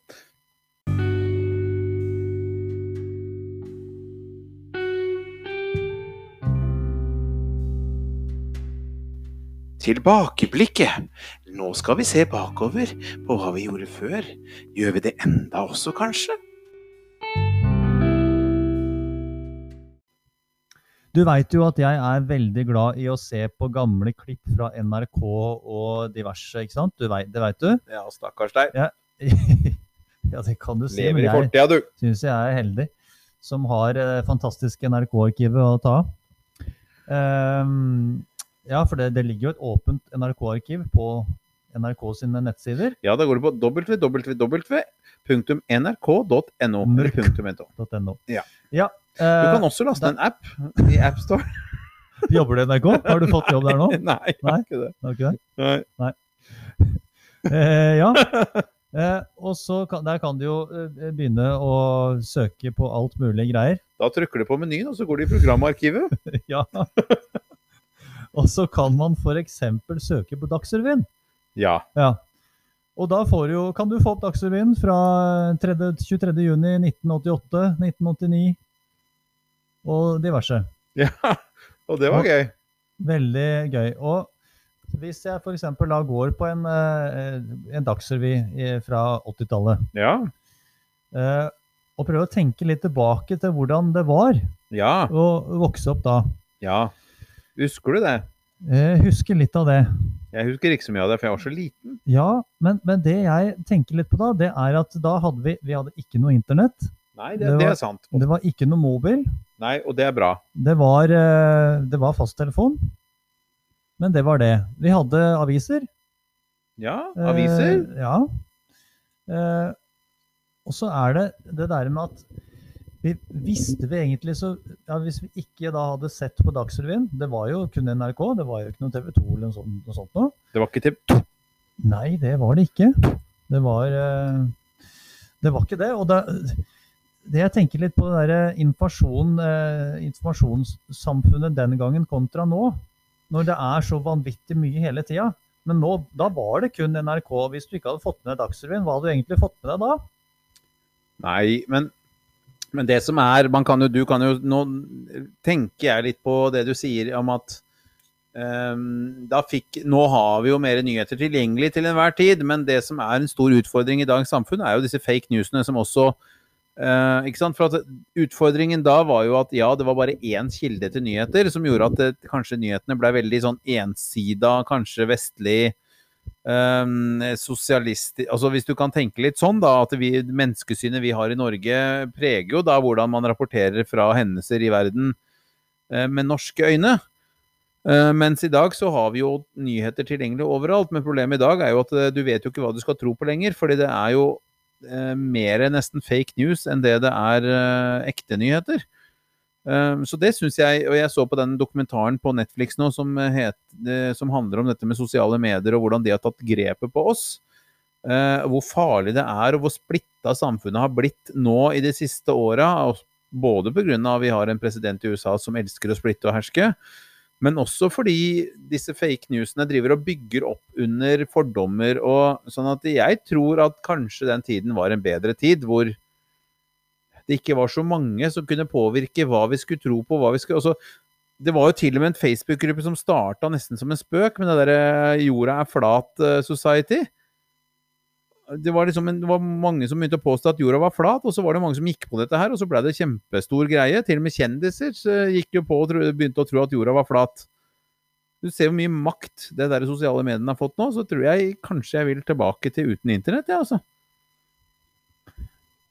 Speaker 4: Tilbakeblikket. Nå skal vi se bakover på hva vi gjorde før. Gjør vi det enda også, kanskje?
Speaker 2: Du veit jo at jeg er veldig glad i å se på gamle klipp fra NRK og diverse, ikke sant? Du vet, det veit du?
Speaker 1: Ja, stakkars deg.
Speaker 2: ja, det kan du si, men
Speaker 1: Lever i
Speaker 2: jeg
Speaker 1: fortida, du.
Speaker 2: syns jeg er heldig som har det fantastiske NRK-arkivet å ta av. Ehm, ja, for det, det ligger jo et åpent NRK-arkiv på NRK sine nettsider.
Speaker 1: Ja, da går du på www.nrk.no. eller punktum .no.
Speaker 2: .no.
Speaker 1: Ja. Du
Speaker 2: eh,
Speaker 1: kan også laste en app i AppStore.
Speaker 2: Jobber du i NRK? Har du fått jobb der nå?
Speaker 1: Nei, jeg har ikke det.
Speaker 2: Har du ikke det?
Speaker 1: Nei.
Speaker 2: Eh, ja. Eh, og så kan, der kan du jo eh, begynne å søke på alt mulig greier.
Speaker 1: Da trykker du på menyen, og så går du i programarkivet.
Speaker 2: Ja. Og så kan man f.eks. søke på Dagsrevyen.
Speaker 1: Ja.
Speaker 2: Ja. Og da får du, jo- kan du få opp Dagsrevyen fra 3. 23. juni 1988, 1989 og diverse.
Speaker 1: ja. Og det var gøy.
Speaker 2: Veldig gøy. Og hvis jeg f.eks. da går på en, eh, en Dagsrevy eh, fra 80-tallet
Speaker 1: Ja.
Speaker 2: Eh, og prøve å tenke litt tilbake til hvordan det var
Speaker 1: Ja.
Speaker 2: å vokse opp da.
Speaker 1: ja. Husker du det?
Speaker 2: Jeg husker eh, litt av det.
Speaker 1: Jeg husker ikke så mye av det, for jeg var så liten.
Speaker 2: Ja, men, men det jeg tenker litt på da, det er at da hadde vi, vi hadde ikke noe internett.
Speaker 1: Nei, det,
Speaker 2: Det var-
Speaker 1: det er sant.
Speaker 2: Det var ikke noe mobil.
Speaker 1: Nei, og det er bra.
Speaker 2: Det var, eh, det var fasttelefon. Men det var det. Vi hadde aviser.
Speaker 1: Ja,
Speaker 2: Eh,
Speaker 1: aviser.
Speaker 2: ja. Eh, og så er det det der med at vi visste vi egentlig så ja, Hvis vi ikke da hadde sett på Dagsrevyen Det var jo kun NRK, det var jo ikke noe TV 2 eller noe sånt. Noe sånt noe.
Speaker 1: Det var ikke til
Speaker 2: Nei, det var det ikke. Det var, eh, det var ikke det. Og det, det jeg tenker litt på det der informasjon, eh, informasjonssamfunnet den gangen kontra nå, når det er så vanvittig mye hele tida. Men nå, da var det kun NRK. Hvis du ikke hadde fått med deg Dagsrevyen, hva hadde du egentlig fått med deg da?
Speaker 1: Nei, men, men det som er man kan jo, Du kan jo Nå tenker jeg litt på det du sier om at ehm, da fikk, Nå har vi jo mer nyheter tilgjengelig til enhver tid, men det som er en stor utfordring i dagens samfunn, er jo disse fake newsene som også eh, ikke sant? For at Utfordringen da var jo at ja, det var bare én kilde til nyheter, som gjorde at det, kanskje nyhetene ble veldig sånn ensida, kanskje vestlig Um, sosialist altså Hvis du kan tenke litt sånn, da, at vi, menneskesynet vi har i Norge, preger jo da hvordan man rapporterer fra hendelser i verden eh, med norske øyne. Eh, mens i dag så har vi jo nyheter tilgjengelig overalt, men problemet i dag er jo at eh, du vet jo ikke hva du skal tro på lenger, fordi det er jo eh, mer nesten fake news enn det det er eh, ekte nyheter. Eh, så det syns jeg, og jeg så på den dokumentaren på Netflix nå som, eh, het, eh, som handler om dette med sosiale medier og hvordan de har tatt grepet på oss. Eh, hvor farlig det er, og hvor splitta samfunnet har blitt nå i de siste åra. og Både pga. vi har en president i USA som elsker å splitte og herske, men også fordi disse fake newsene driver og bygger opp under fordommer. og Sånn at jeg tror at kanskje den tiden var en bedre tid, hvor det ikke var så mange som kunne påvirke hva vi skulle tro på. hva vi skulle... Altså, det var jo til og med en Facebook-gruppe som starta nesten som en spøk med det derre 'Jorda er flat eh, society'. Det var, liksom en, det var mange som begynte å påstå at jorda var flat, og så var det mange som gikk på dette her, og så blei det kjempestor greie. Til og med kjendiser eh, gikk jo på og tro, begynte å tro at jorda var flat. Du ser hvor mye makt det der sosiale mediene har fått nå, så tror jeg kanskje jeg vil tilbake til uten internett, jeg, ja, altså.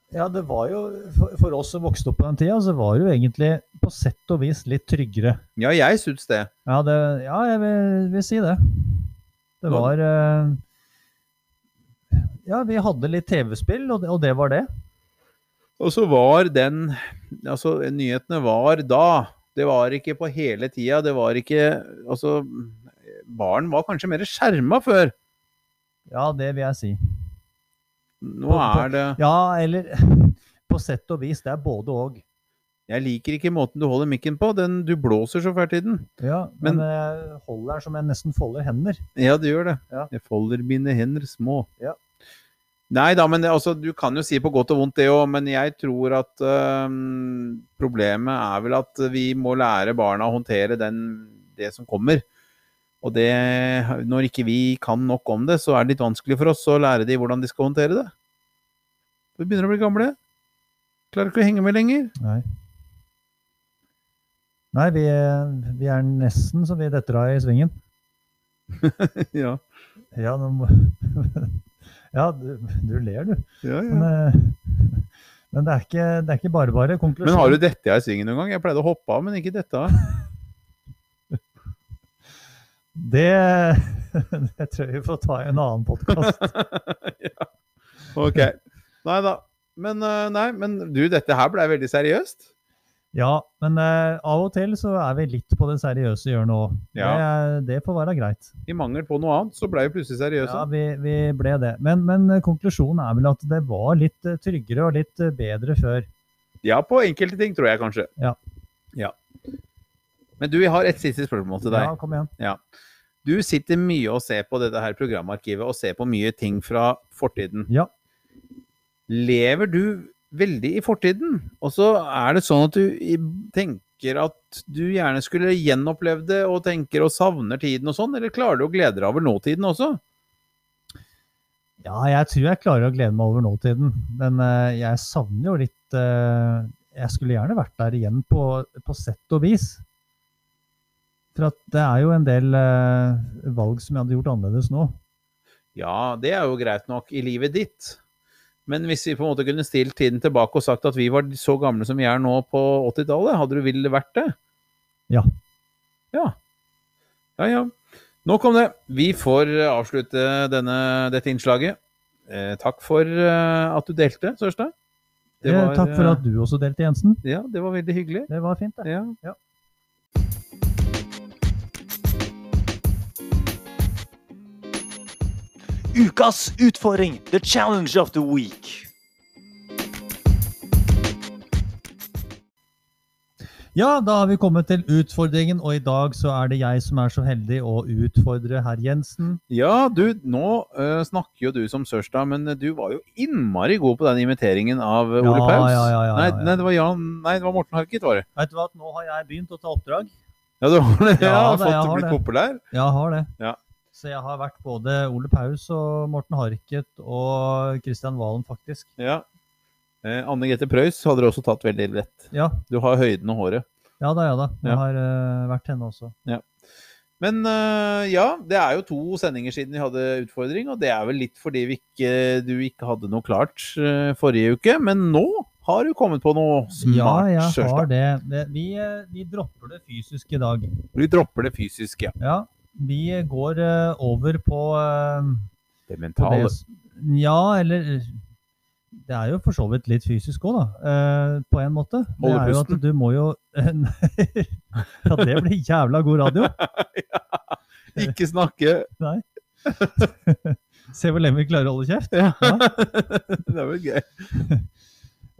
Speaker 2: Ja, det var jo, for, for oss som vokste opp på den tida, så var det jo egentlig på sett og vis litt tryggere.
Speaker 1: Ja, jeg syns det.
Speaker 2: Ja, det, ja jeg vil, vil si det. Det
Speaker 1: Nå-
Speaker 2: var eh, Ja, vi hadde litt TV-spill, og, det- og det var det.
Speaker 1: Og så var den Altså, nyhetene var da. Det var ikke på hele tida. Det var ikke Altså, barn var kanskje mer skjerma før.
Speaker 2: Ja, det vil jeg si.
Speaker 1: Nå er det
Speaker 2: Ja, eller på sett og vis. Det er både og.
Speaker 1: Jeg liker ikke måten du holder mikken på. Den, du blåser så fælt i den.
Speaker 2: Ja, men, jeg holder her som jeg nesten folder hender.
Speaker 1: Ja, du gjør det.
Speaker 2: Ja.
Speaker 1: Jeg folder mine hender små.
Speaker 2: Ja.
Speaker 1: Nei da, men det, altså, du kan jo si på godt og vondt det òg, men jeg tror at øhm, problemet er vel at vi må lære barna å håndtere den, det som kommer. Og det, når ikke vi kan nok om det, så er det litt vanskelig for oss å lære de hvordan de skal håndtere det. Vi begynner å bli gamle. Klarer ikke å henge med lenger.
Speaker 2: Nei. Nei, vi, vi er nesten så vi detter av i svingen.
Speaker 1: ja,
Speaker 2: Ja, nå må Ja, du, du ler, du.
Speaker 1: ja,
Speaker 2: Men,
Speaker 1: ja.
Speaker 2: eh, men det er ikke, det er ikke bare bare.
Speaker 1: Men har du dette i svingen noen gang? Jeg pleide å hoppe av, men ikke dette av.
Speaker 2: Det, det tror jeg vi får ta i en annen podkast.
Speaker 1: ja. Ok. Nei da. Men, eh, nei, men du, dette her blei veldig seriøst.
Speaker 2: Ja, men eh, av og til så er vi litt på det seriøse hjørnet òg.
Speaker 1: Ja.
Speaker 2: Det, er- det får være greit.
Speaker 1: I mangel på noe annet, så blei vi plutselig seriøse.
Speaker 2: Ja, vi, vi ble det. Men, men eh, konklusjonen er vel at det var litt eh, tryggere og litt eh, bedre før.
Speaker 1: Ja. på enkelte ting, tror jeg kanskje.
Speaker 2: Ja.
Speaker 1: Ja. Men du, jeg har et siste spørsmål til deg.
Speaker 2: Ja, kom igjen.
Speaker 1: Du sitter mye og ser på dette her programarkivet, og ser på mye ting fra fortiden.
Speaker 2: Ja.
Speaker 1: lever du veldig i fortiden. Og så er det sånn at du i- tenker at du gjerne skulle gjenopplevd det, og tenker og savner tiden og sånn, eller klarer du å glede deg over nåtiden også?
Speaker 2: Ja, jeg tror jeg klarer å glede meg over nåtiden. Men eh, jeg savner jo litt eh, Jeg skulle gjerne vært der igjen på, på sett og vis. For at det er jo en del eh, valg som jeg hadde gjort annerledes nå.
Speaker 1: Ja, det er jo greit nok i livet ditt. Men hvis vi på en måte kunne stilt tiden tilbake og sagt at vi var så gamle som vi er nå på 80-tallet, hadde du villet vært det?
Speaker 2: Ja.
Speaker 1: Ja. Ja, ja. Nok om det. Vi får eh, avslutte denne, dette innslaget. Eh, takk for eh, at du delte, Sørstad. Det
Speaker 2: Eh,
Speaker 1: var,
Speaker 2: Takk for
Speaker 1: eh,
Speaker 2: at du også delte, Jensen.
Speaker 1: Ja, det var veldig hyggelig.
Speaker 2: Det var fint, det.
Speaker 1: Ja.
Speaker 3: Ukas utfordring! The challenge of the week!
Speaker 2: Ja, da har vi kommet til utfordringen, og i dag så er det jeg som er så heldig å utfordre herr Jensen.
Speaker 1: Ja, du, nå eh, snakker jo du som Sørstad, men eh, du var jo innmari god på den imiteringen av eh,
Speaker 2: Ja,
Speaker 1: Ole Paus.
Speaker 2: ja, ja, ja,
Speaker 1: nei,
Speaker 2: ja, ja.
Speaker 1: nei, det var Jan, nei, det var Morten Harket, var det.
Speaker 2: Vet du hva, nå har jeg begynt å ta oppdrag.
Speaker 1: Ja, du har det. Ja,
Speaker 2: Ja, det-
Speaker 1: fått
Speaker 2: jeg har
Speaker 1: blitt
Speaker 2: det.
Speaker 1: populær.
Speaker 2: Jeg har det.
Speaker 1: Ja.
Speaker 2: Så jeg har vært både Ole Paus og Morten Harket og Kristian Valen, faktisk.
Speaker 1: Ja. Eh, Anne Grete Preus hadde det også tatt veldig lett.
Speaker 2: Ja,
Speaker 1: Du har høyden og håret.
Speaker 2: ja da, ja da. Jeg
Speaker 1: Ja.
Speaker 2: har eh, vært henne også.
Speaker 1: Men eh, ja, det er jo to sendinger siden vi hadde utfordring, og det er vel litt fordi vi ikke, du ikke hadde noe klart eh, forrige uke. Men nå har du kommet på noe
Speaker 2: Ja,
Speaker 1: smart.
Speaker 2: jeg
Speaker 1: Sørstad.
Speaker 2: har det. det vi, eh, vi dropper det fysisk i dag.
Speaker 1: Vi dropper det fysiske. Ja.
Speaker 2: Ja, vi går eh, over på eh,
Speaker 1: Det
Speaker 2: på det
Speaker 1: mentale.
Speaker 2: s- Ja, eller eh, Det er jo for så vidt litt fysisk òg, da. eh, på en måte. Det
Speaker 1: Holde
Speaker 2: er jo
Speaker 1: pusten.
Speaker 2: at du må jo Nei, ja, det blir jævla god radio.
Speaker 1: Ikke snakke.
Speaker 2: Se hvor lenge vi klarer å holde kjeft.
Speaker 1: Ja.
Speaker 2: Ja.
Speaker 1: det er vel gøy.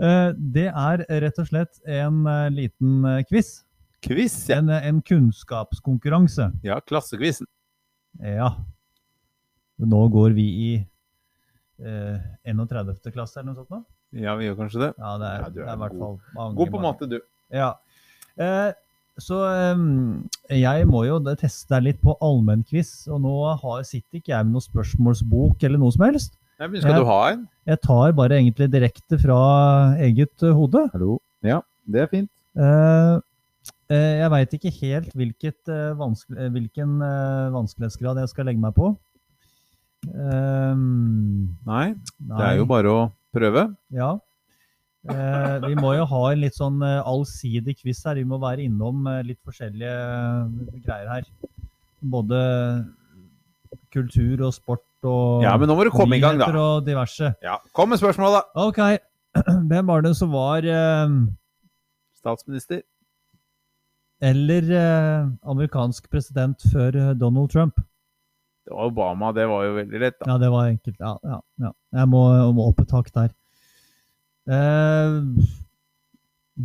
Speaker 2: Eh, Det er rett og slett en eh, liten eh, quiz.
Speaker 1: Quiz, ja.
Speaker 2: En, eh, en kunnskapskonkurranse.
Speaker 1: Ja, klassequizen.
Speaker 2: Ja. Nå går vi i eh, 31. klasse eller noe sånt nå.
Speaker 1: Ja, vi gjør kanskje det.
Speaker 2: Ja, det er,
Speaker 1: Ja, du
Speaker 2: det
Speaker 1: er
Speaker 2: er i hvert fall
Speaker 1: god.
Speaker 2: mange,
Speaker 1: God på
Speaker 2: mange-
Speaker 1: matte, du.
Speaker 2: Ja. Eh, så eh, jeg må jo da teste deg litt på allmennquiz, og nå har, sitter ikke jeg med noen spørsmålsbok eller noe som helst.
Speaker 1: Nei, men skal
Speaker 2: Ja.
Speaker 1: du ha en?
Speaker 2: Jeg tar bare egentlig direkte fra eget eh, hode.
Speaker 1: Hallo. Ja, det er fint.
Speaker 2: Eh, eh, jeg veit ikke helt hvilket, eh, vanske- eh, hvilken eh, vanskelighetsgrad jeg skal legge meg på. Ehm,
Speaker 1: Nei, det
Speaker 2: nei.
Speaker 1: er jo bare å prøve.
Speaker 2: Ja. Eh, vi må jo ha en litt sånn eh, allsidig quiz her. Vi må være innom eh, litt forskjellige eh, greier her. Både kultur og sport og
Speaker 1: Ja, men nå må du komme i gang, da.
Speaker 2: nyheter og diverse.
Speaker 1: Ja, Kom med spørsmål, da.
Speaker 2: OK. Hvem var det som var eh,
Speaker 1: Statsminister.
Speaker 2: Eller eh, amerikansk president før eh, Donald Trump?
Speaker 1: Det var Obama, det var jo veldig lett, da.
Speaker 2: Ja, det var enkelt. Ja, ja, ja. Jeg må, jeg må opp et tak der. Eh,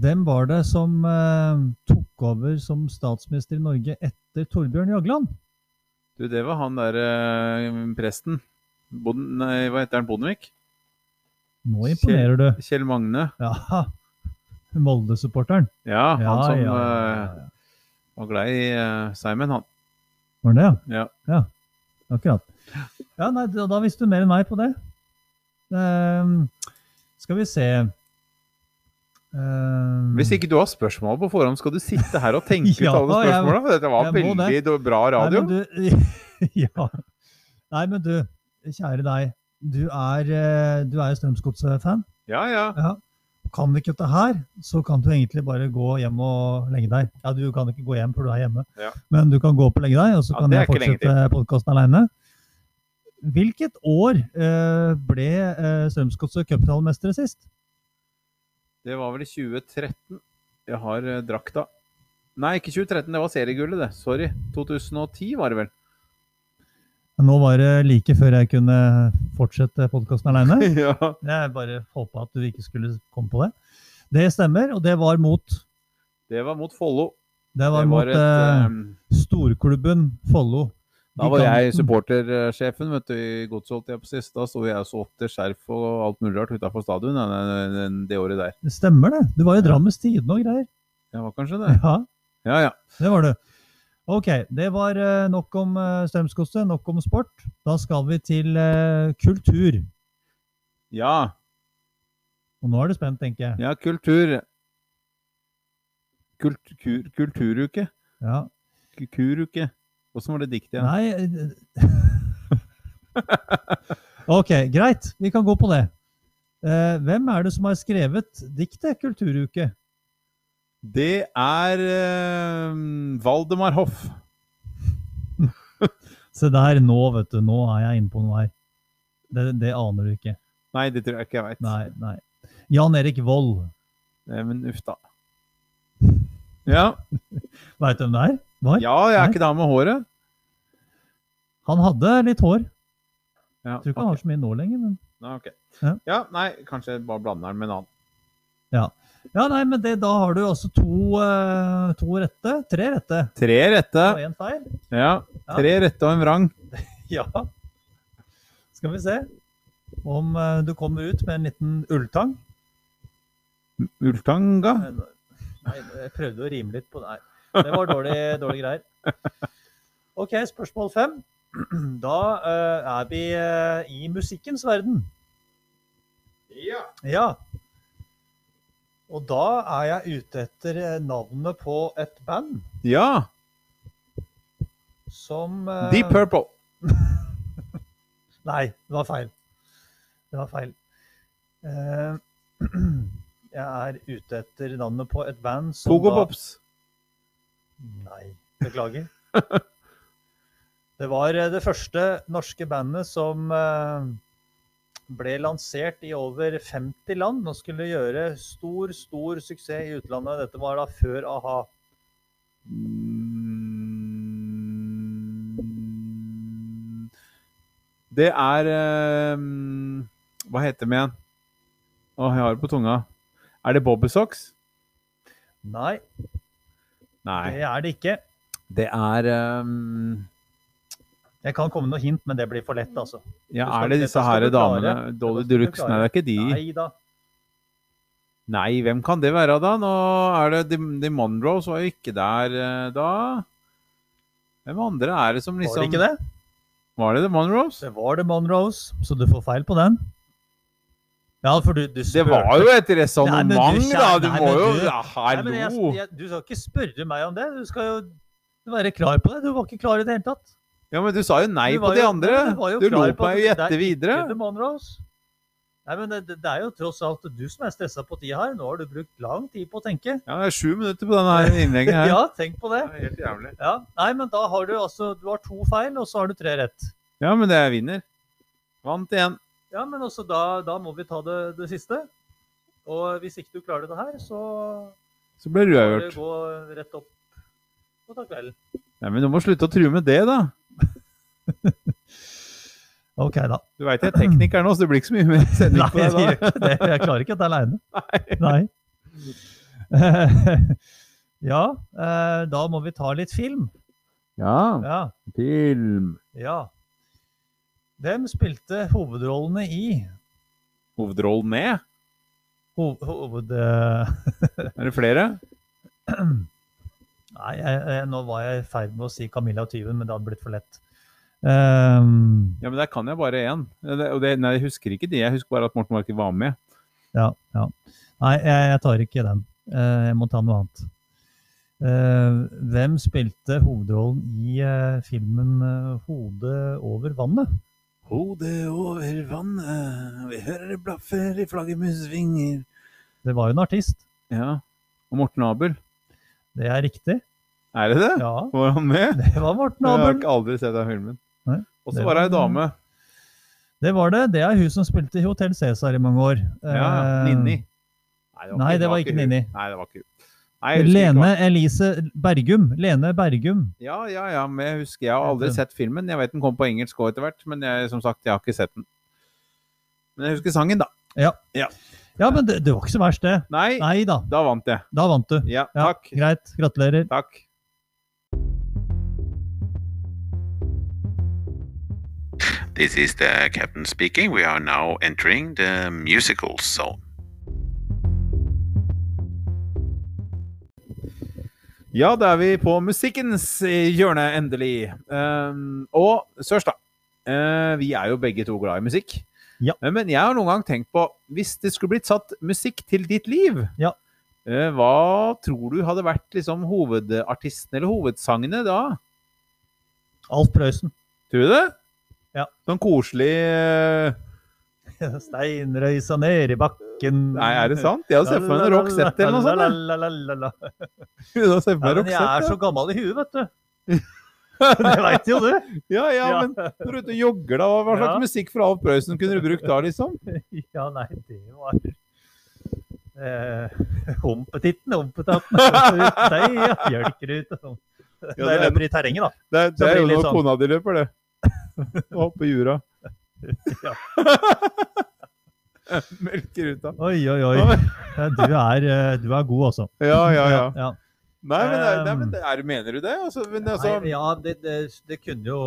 Speaker 2: hvem var det som eh, tok over som statsminister i Norge etter Torbjørn Jagland?
Speaker 1: Du, det var han der eh, presten. Bonden, nei, hva heter han? Bondevik?
Speaker 2: Nå imponerer du.
Speaker 1: Kjell Magne.
Speaker 2: Ja, Molde-supporteren.
Speaker 1: Ja, han
Speaker 2: Ja,
Speaker 1: som
Speaker 2: ja, ja,
Speaker 1: eh,
Speaker 2: ja.
Speaker 1: var glad i eh, Simon, han.
Speaker 2: Var det det?
Speaker 1: Ja.
Speaker 2: Akkurat. Ja, nei, da, da visste du mer enn meg på det. Ehm, skal vi se Ehm,
Speaker 1: Hvis ikke du har spørsmål på forhånd, skal du sitte her og tenke ut
Speaker 2: Ja,
Speaker 1: alle
Speaker 2: jeg-
Speaker 1: spørsmåla? Dette var
Speaker 2: jeg må
Speaker 1: veldig
Speaker 2: det.
Speaker 1: do- bra radio.
Speaker 2: Nei, men du, ja. Nei, men du, kjære deg. Du er, eh, du er jo Strømsgodset-fan.
Speaker 1: Ja, ja.
Speaker 2: Kan du ikke dette her, så kan du egentlig bare gå hjem og legge deg. Ja, du kan ikke gå hjem, for du er hjemme.
Speaker 1: Ja.
Speaker 2: Men du kan gå opp og legge deg, og så
Speaker 1: Ja,
Speaker 2: kan
Speaker 1: det er
Speaker 2: jeg
Speaker 1: ikke lenge
Speaker 2: fortsette podkasten aleine. Hvilket år eh, ble eh, Strømsgodset cupfinalmestere sist?
Speaker 1: Det var vel i 2013. Jeg har eh, drakta. Nei, ikke 2013, det var seriegullet, det. Sorry. 2010 var det vel.
Speaker 2: Nå var det like før jeg kunne fortsette podkasten aleine.
Speaker 1: ja.
Speaker 2: Jeg bare håpa at du ikke skulle komme på det. Det stemmer, og det var mot
Speaker 1: Det var mot Follo.
Speaker 2: Det var,
Speaker 1: Det var
Speaker 2: mot
Speaker 1: et
Speaker 2: eh,
Speaker 1: eh,
Speaker 2: storklubben Follo.
Speaker 1: Da var jeg
Speaker 2: Giganten.
Speaker 1: supportersjefen vet du, i godset, holdt jeg på sist. Da sto jeg og solgte skjerf og alt mulig rart utafor stadion ja, den- den- det året der.
Speaker 2: Det Mm, stemmer det. Du var jo i Drammens Tidende og greier.
Speaker 1: Det var kanskje det.
Speaker 2: Ja,
Speaker 1: Ja, ja.
Speaker 2: det var du. Ok, det var eh, nok om uh, Strømsgodset, nok om sport. Da skal vi til eh, kultur.
Speaker 1: Ja,
Speaker 2: Og nå er du spent, tenker jeg.
Speaker 1: ja kultur. Kult, kur, kulturuke.
Speaker 2: Ja.
Speaker 1: k- kuruke. Åssen var det diktet igjen?
Speaker 2: Nei eh, Ok, greit. Vi kan gå på det. Eh, hvem er det som har skrevet diktet Kulturuke?
Speaker 1: Det er eh, Valdemar Hoff.
Speaker 2: Se der, nå vet du. Nå er jeg inne på noe her. Det, det aner du ikke.
Speaker 1: Nei, det tror jeg ikke jeg veit.
Speaker 2: Nei, nei. Jan Erik Vold.
Speaker 1: Men uff da. Ja,
Speaker 2: Veit du hvem det er? Var?
Speaker 1: ja jeg er
Speaker 2: Nei.
Speaker 1: ikke da med håret.
Speaker 2: Han hadde litt hår.
Speaker 1: Ja,
Speaker 2: Tror ikke han
Speaker 1: ok.
Speaker 2: har så mye nå lenger. men...
Speaker 1: Nei, ok.
Speaker 2: Ja.
Speaker 1: ja, nei, kanskje jeg bare blander den med en annen.
Speaker 2: Ja, nei, men det, Da har du altså to, eh, to rette. Tre rette
Speaker 1: Tre rette.
Speaker 2: og én feil.
Speaker 1: Ja, tre rette og en vrang.
Speaker 2: Ja. Skal vi se om eh, du kommer ut med en liten ulltang.
Speaker 1: Ultanga.
Speaker 2: Nei, nei, jeg prøvde å rime litt på det. Nei, det var dårlig, dårlig greier. OK, spørsmål fem. Da eh, er vi eh, i musikkens verden.
Speaker 1: Ja.
Speaker 2: Ja. Og da er jeg ute etter eh, navnet på et band
Speaker 1: ja.
Speaker 2: som eh,
Speaker 1: Deep Purple.
Speaker 2: Nei, det var feil. Det var feil. Eh, jeg er ute etter navnet på et band som
Speaker 1: Pogo
Speaker 2: da-
Speaker 1: Pops.
Speaker 2: Nei, beklager. Det var eh, det første norske bandet som eh, ble lansert i over 50 land og skulle gjøre stor, stor suksess i utlandet. Dette var da før a-ha.
Speaker 1: Mm. Det er ehm, Hva heter de igjen? Å, jeg har det på tunga. Er det Bobbysocks?
Speaker 2: Nei,
Speaker 1: Nei.
Speaker 2: det er det ikke.
Speaker 1: Det er ehm,
Speaker 2: Jeg kan komme med noe hint, men det blir for lett, altså.
Speaker 1: Ja,
Speaker 2: Du skal-
Speaker 1: er det
Speaker 2: dette
Speaker 1: disse
Speaker 2: skal
Speaker 1: her
Speaker 2: du klare.
Speaker 1: damene? Dolly
Speaker 2: Dette skal du
Speaker 1: Dulux? Nei, det
Speaker 2: klare.
Speaker 1: er ikke de. Nei.
Speaker 2: Nei da.
Speaker 1: hvem kan det være da? Nå er det The, The Monroes var jo ikke der eh, da. Hvem andre er det som
Speaker 2: Var
Speaker 1: liksom
Speaker 2: det ikke det?
Speaker 1: Var det The Monroes?
Speaker 2: Det var det Monroes, så du får feil på den. Ja, for du, du
Speaker 1: Det var jo et resonnement,
Speaker 2: Nei, men du,
Speaker 1: da! Du
Speaker 2: nei,
Speaker 1: må
Speaker 2: men
Speaker 1: jo
Speaker 2: du-
Speaker 1: ja,
Speaker 2: Nei, men jeg,
Speaker 1: Hallo!
Speaker 2: jeg, du skal ikke spørre meg om det. Du skal jo være klar på det. Du var ikke klar i det hele tatt.
Speaker 1: Ja, men du sa jo nei
Speaker 2: Du
Speaker 1: på
Speaker 2: var
Speaker 1: de
Speaker 2: jo-
Speaker 1: andre!
Speaker 2: Ja, men du var jo
Speaker 1: Du
Speaker 2: klar
Speaker 1: lot
Speaker 2: på at
Speaker 1: meg jo
Speaker 2: det- det
Speaker 1: gjette
Speaker 2: er
Speaker 1: videre.
Speaker 2: Ikke The Monroes. Nei, men det, det er jo tross alt du som er stressa på tida her. Nå har du brukt lang tid på å tenke.
Speaker 1: Ja, det er sju minutter på denne her innlegget her.
Speaker 2: Ja, tenk på det.
Speaker 1: Det er Helt jævlig.
Speaker 2: Ja. Nei, men da har du altså Du har to feil, og så har du tre rett.
Speaker 1: Ja, men det er vinner. Vant igjen.
Speaker 2: Ja, men også da, da må vi ta det, det siste. Og hvis ikke du klarer det her, så
Speaker 1: Så ble du
Speaker 2: får det
Speaker 1: uavgjort.
Speaker 2: gå rett opp og ta kvelden.
Speaker 1: Nei, men du må slutte å true med det, da.
Speaker 2: OK, da.
Speaker 1: Du veit jeg er tekniker nå, så det blir ikke så mye mer sending
Speaker 2: Nei,
Speaker 1: på
Speaker 2: jeg gjør
Speaker 1: deg da.
Speaker 2: ikke det. Jeg klarer ikke dette aleine. Nei. Eh, ja, eh, da må vi ta litt film.
Speaker 1: Ja,
Speaker 2: Ja.
Speaker 1: film.
Speaker 2: ja. Hvem spilte hovedrollene i
Speaker 1: Hovedrollen med?
Speaker 2: hov hoved... eh,
Speaker 1: Er det flere?
Speaker 2: Nei, jeg, jeg, nå var jeg i ferd med å si Camilla og tyven, men det hadde blitt for lett. Ehm,
Speaker 1: Ja, men der kan jeg bare én. Det- og det- Nei, jeg husker ikke de. Jeg husker bare at Morten Marker var med.
Speaker 2: ja, ja. Nei, jeg, jeg tar ikke den. Eh, jeg må ta noe annet. Eh, hvem spilte hovedrollen i eh, filmen eh, 'Hodet over vannet'?
Speaker 4: Hodet over vannet, vi hører det blaffer i flaggermus vinger.
Speaker 2: Det var jo en artist.
Speaker 1: Ja. Og Morten Abel.
Speaker 2: Det er riktig.
Speaker 1: Er det det?
Speaker 2: Ja,
Speaker 1: Var han med?
Speaker 2: det var Morten
Speaker 1: Jeg har
Speaker 2: Abel.
Speaker 1: ikke aldri sett den filmen.
Speaker 2: Nei,
Speaker 1: Og så
Speaker 2: det
Speaker 1: var det ei
Speaker 2: var-
Speaker 1: dame.
Speaker 2: Det var det. Det er hun som spilte i Hotell Cæsar i mange år.
Speaker 1: Ja,
Speaker 2: Eh,
Speaker 1: Ninni.
Speaker 2: Nei, det var ikke
Speaker 1: hun.
Speaker 2: Ninni.
Speaker 1: Nei, det var ikke hun. Nei, jeg husker ikke
Speaker 2: Lene
Speaker 1: hva-
Speaker 2: Elise Bergum. Lene Bergum.
Speaker 1: Ja, ja, ja, men jeg husker Jeg har aldri
Speaker 2: Heter
Speaker 1: sett filmen. Jeg vet den kom på engelsk òg etter hvert, men jeg, som sagt, jeg har ikke sett den. Men jeg husker sangen, da.
Speaker 2: Ja, men det, det var ikke så verst, det.
Speaker 1: Nei,
Speaker 2: Nei da.
Speaker 1: da vant jeg.
Speaker 2: Da vant du.
Speaker 1: Ja,
Speaker 2: Ja,
Speaker 1: takk.
Speaker 2: Greit. Gratulerer.
Speaker 1: Takk.
Speaker 4: This is the captain speaking. We are now entering the musical zone.
Speaker 1: Ja, da er vi på musikkens eh, hjørne, endelig. Ehm, og Sørs, da. eh, vi er jo begge to glad i musikk.
Speaker 2: Ja.
Speaker 1: Eh, Men jeg har noen gang tenkt på Hvis det skulle blitt satt musikk til ditt liv,
Speaker 2: Ja.
Speaker 1: Eh, Hva tror du hadde vært liksom hovedartisten eller hovedsangene da?
Speaker 2: Alf Prøysen.
Speaker 1: Tror du det?
Speaker 2: Ja.
Speaker 1: Sånn koselig eh,
Speaker 2: Steinrøysa ned i bakken.
Speaker 1: Nei, er det sant? Jeg hadde sett for meg en Roxette eller noe sånt. jeg.
Speaker 2: sånt.
Speaker 1: Jeg hadde sett for
Speaker 2: Ja,
Speaker 1: meg
Speaker 2: men jeg er
Speaker 1: Roxette,
Speaker 2: så gammel i huet, vet du.
Speaker 1: ja.
Speaker 2: Det veit jo du.
Speaker 1: ja, ja,
Speaker 2: Ja.
Speaker 1: men når du er ute og jogger, da, hva slags
Speaker 2: Ja.
Speaker 1: musikk fra Alf Prøysen kunne du brukt da, liksom?
Speaker 2: Ja, nei, det var eh, Humpetitten, humpetatten, deg, ja, bjølkerute. sånn.
Speaker 1: Ja,
Speaker 2: Når jeg
Speaker 1: det er-
Speaker 2: løper i terrenget, da.
Speaker 1: Det, er- det
Speaker 2: blir
Speaker 1: er jo
Speaker 2: litt
Speaker 1: når
Speaker 2: sånn.
Speaker 1: kona di løper, det. Og hopper i jura.
Speaker 2: Ja.
Speaker 1: Melkeruta.
Speaker 2: Oi, oi, oi. Ja, Du er, eh, du er god, altså.
Speaker 1: Ja, ja, ja.
Speaker 2: ja.
Speaker 1: Nei, men, det- nei, men det er, mener du det? Altså, men, altså,
Speaker 2: Nei, ja, det, det, det kunne jo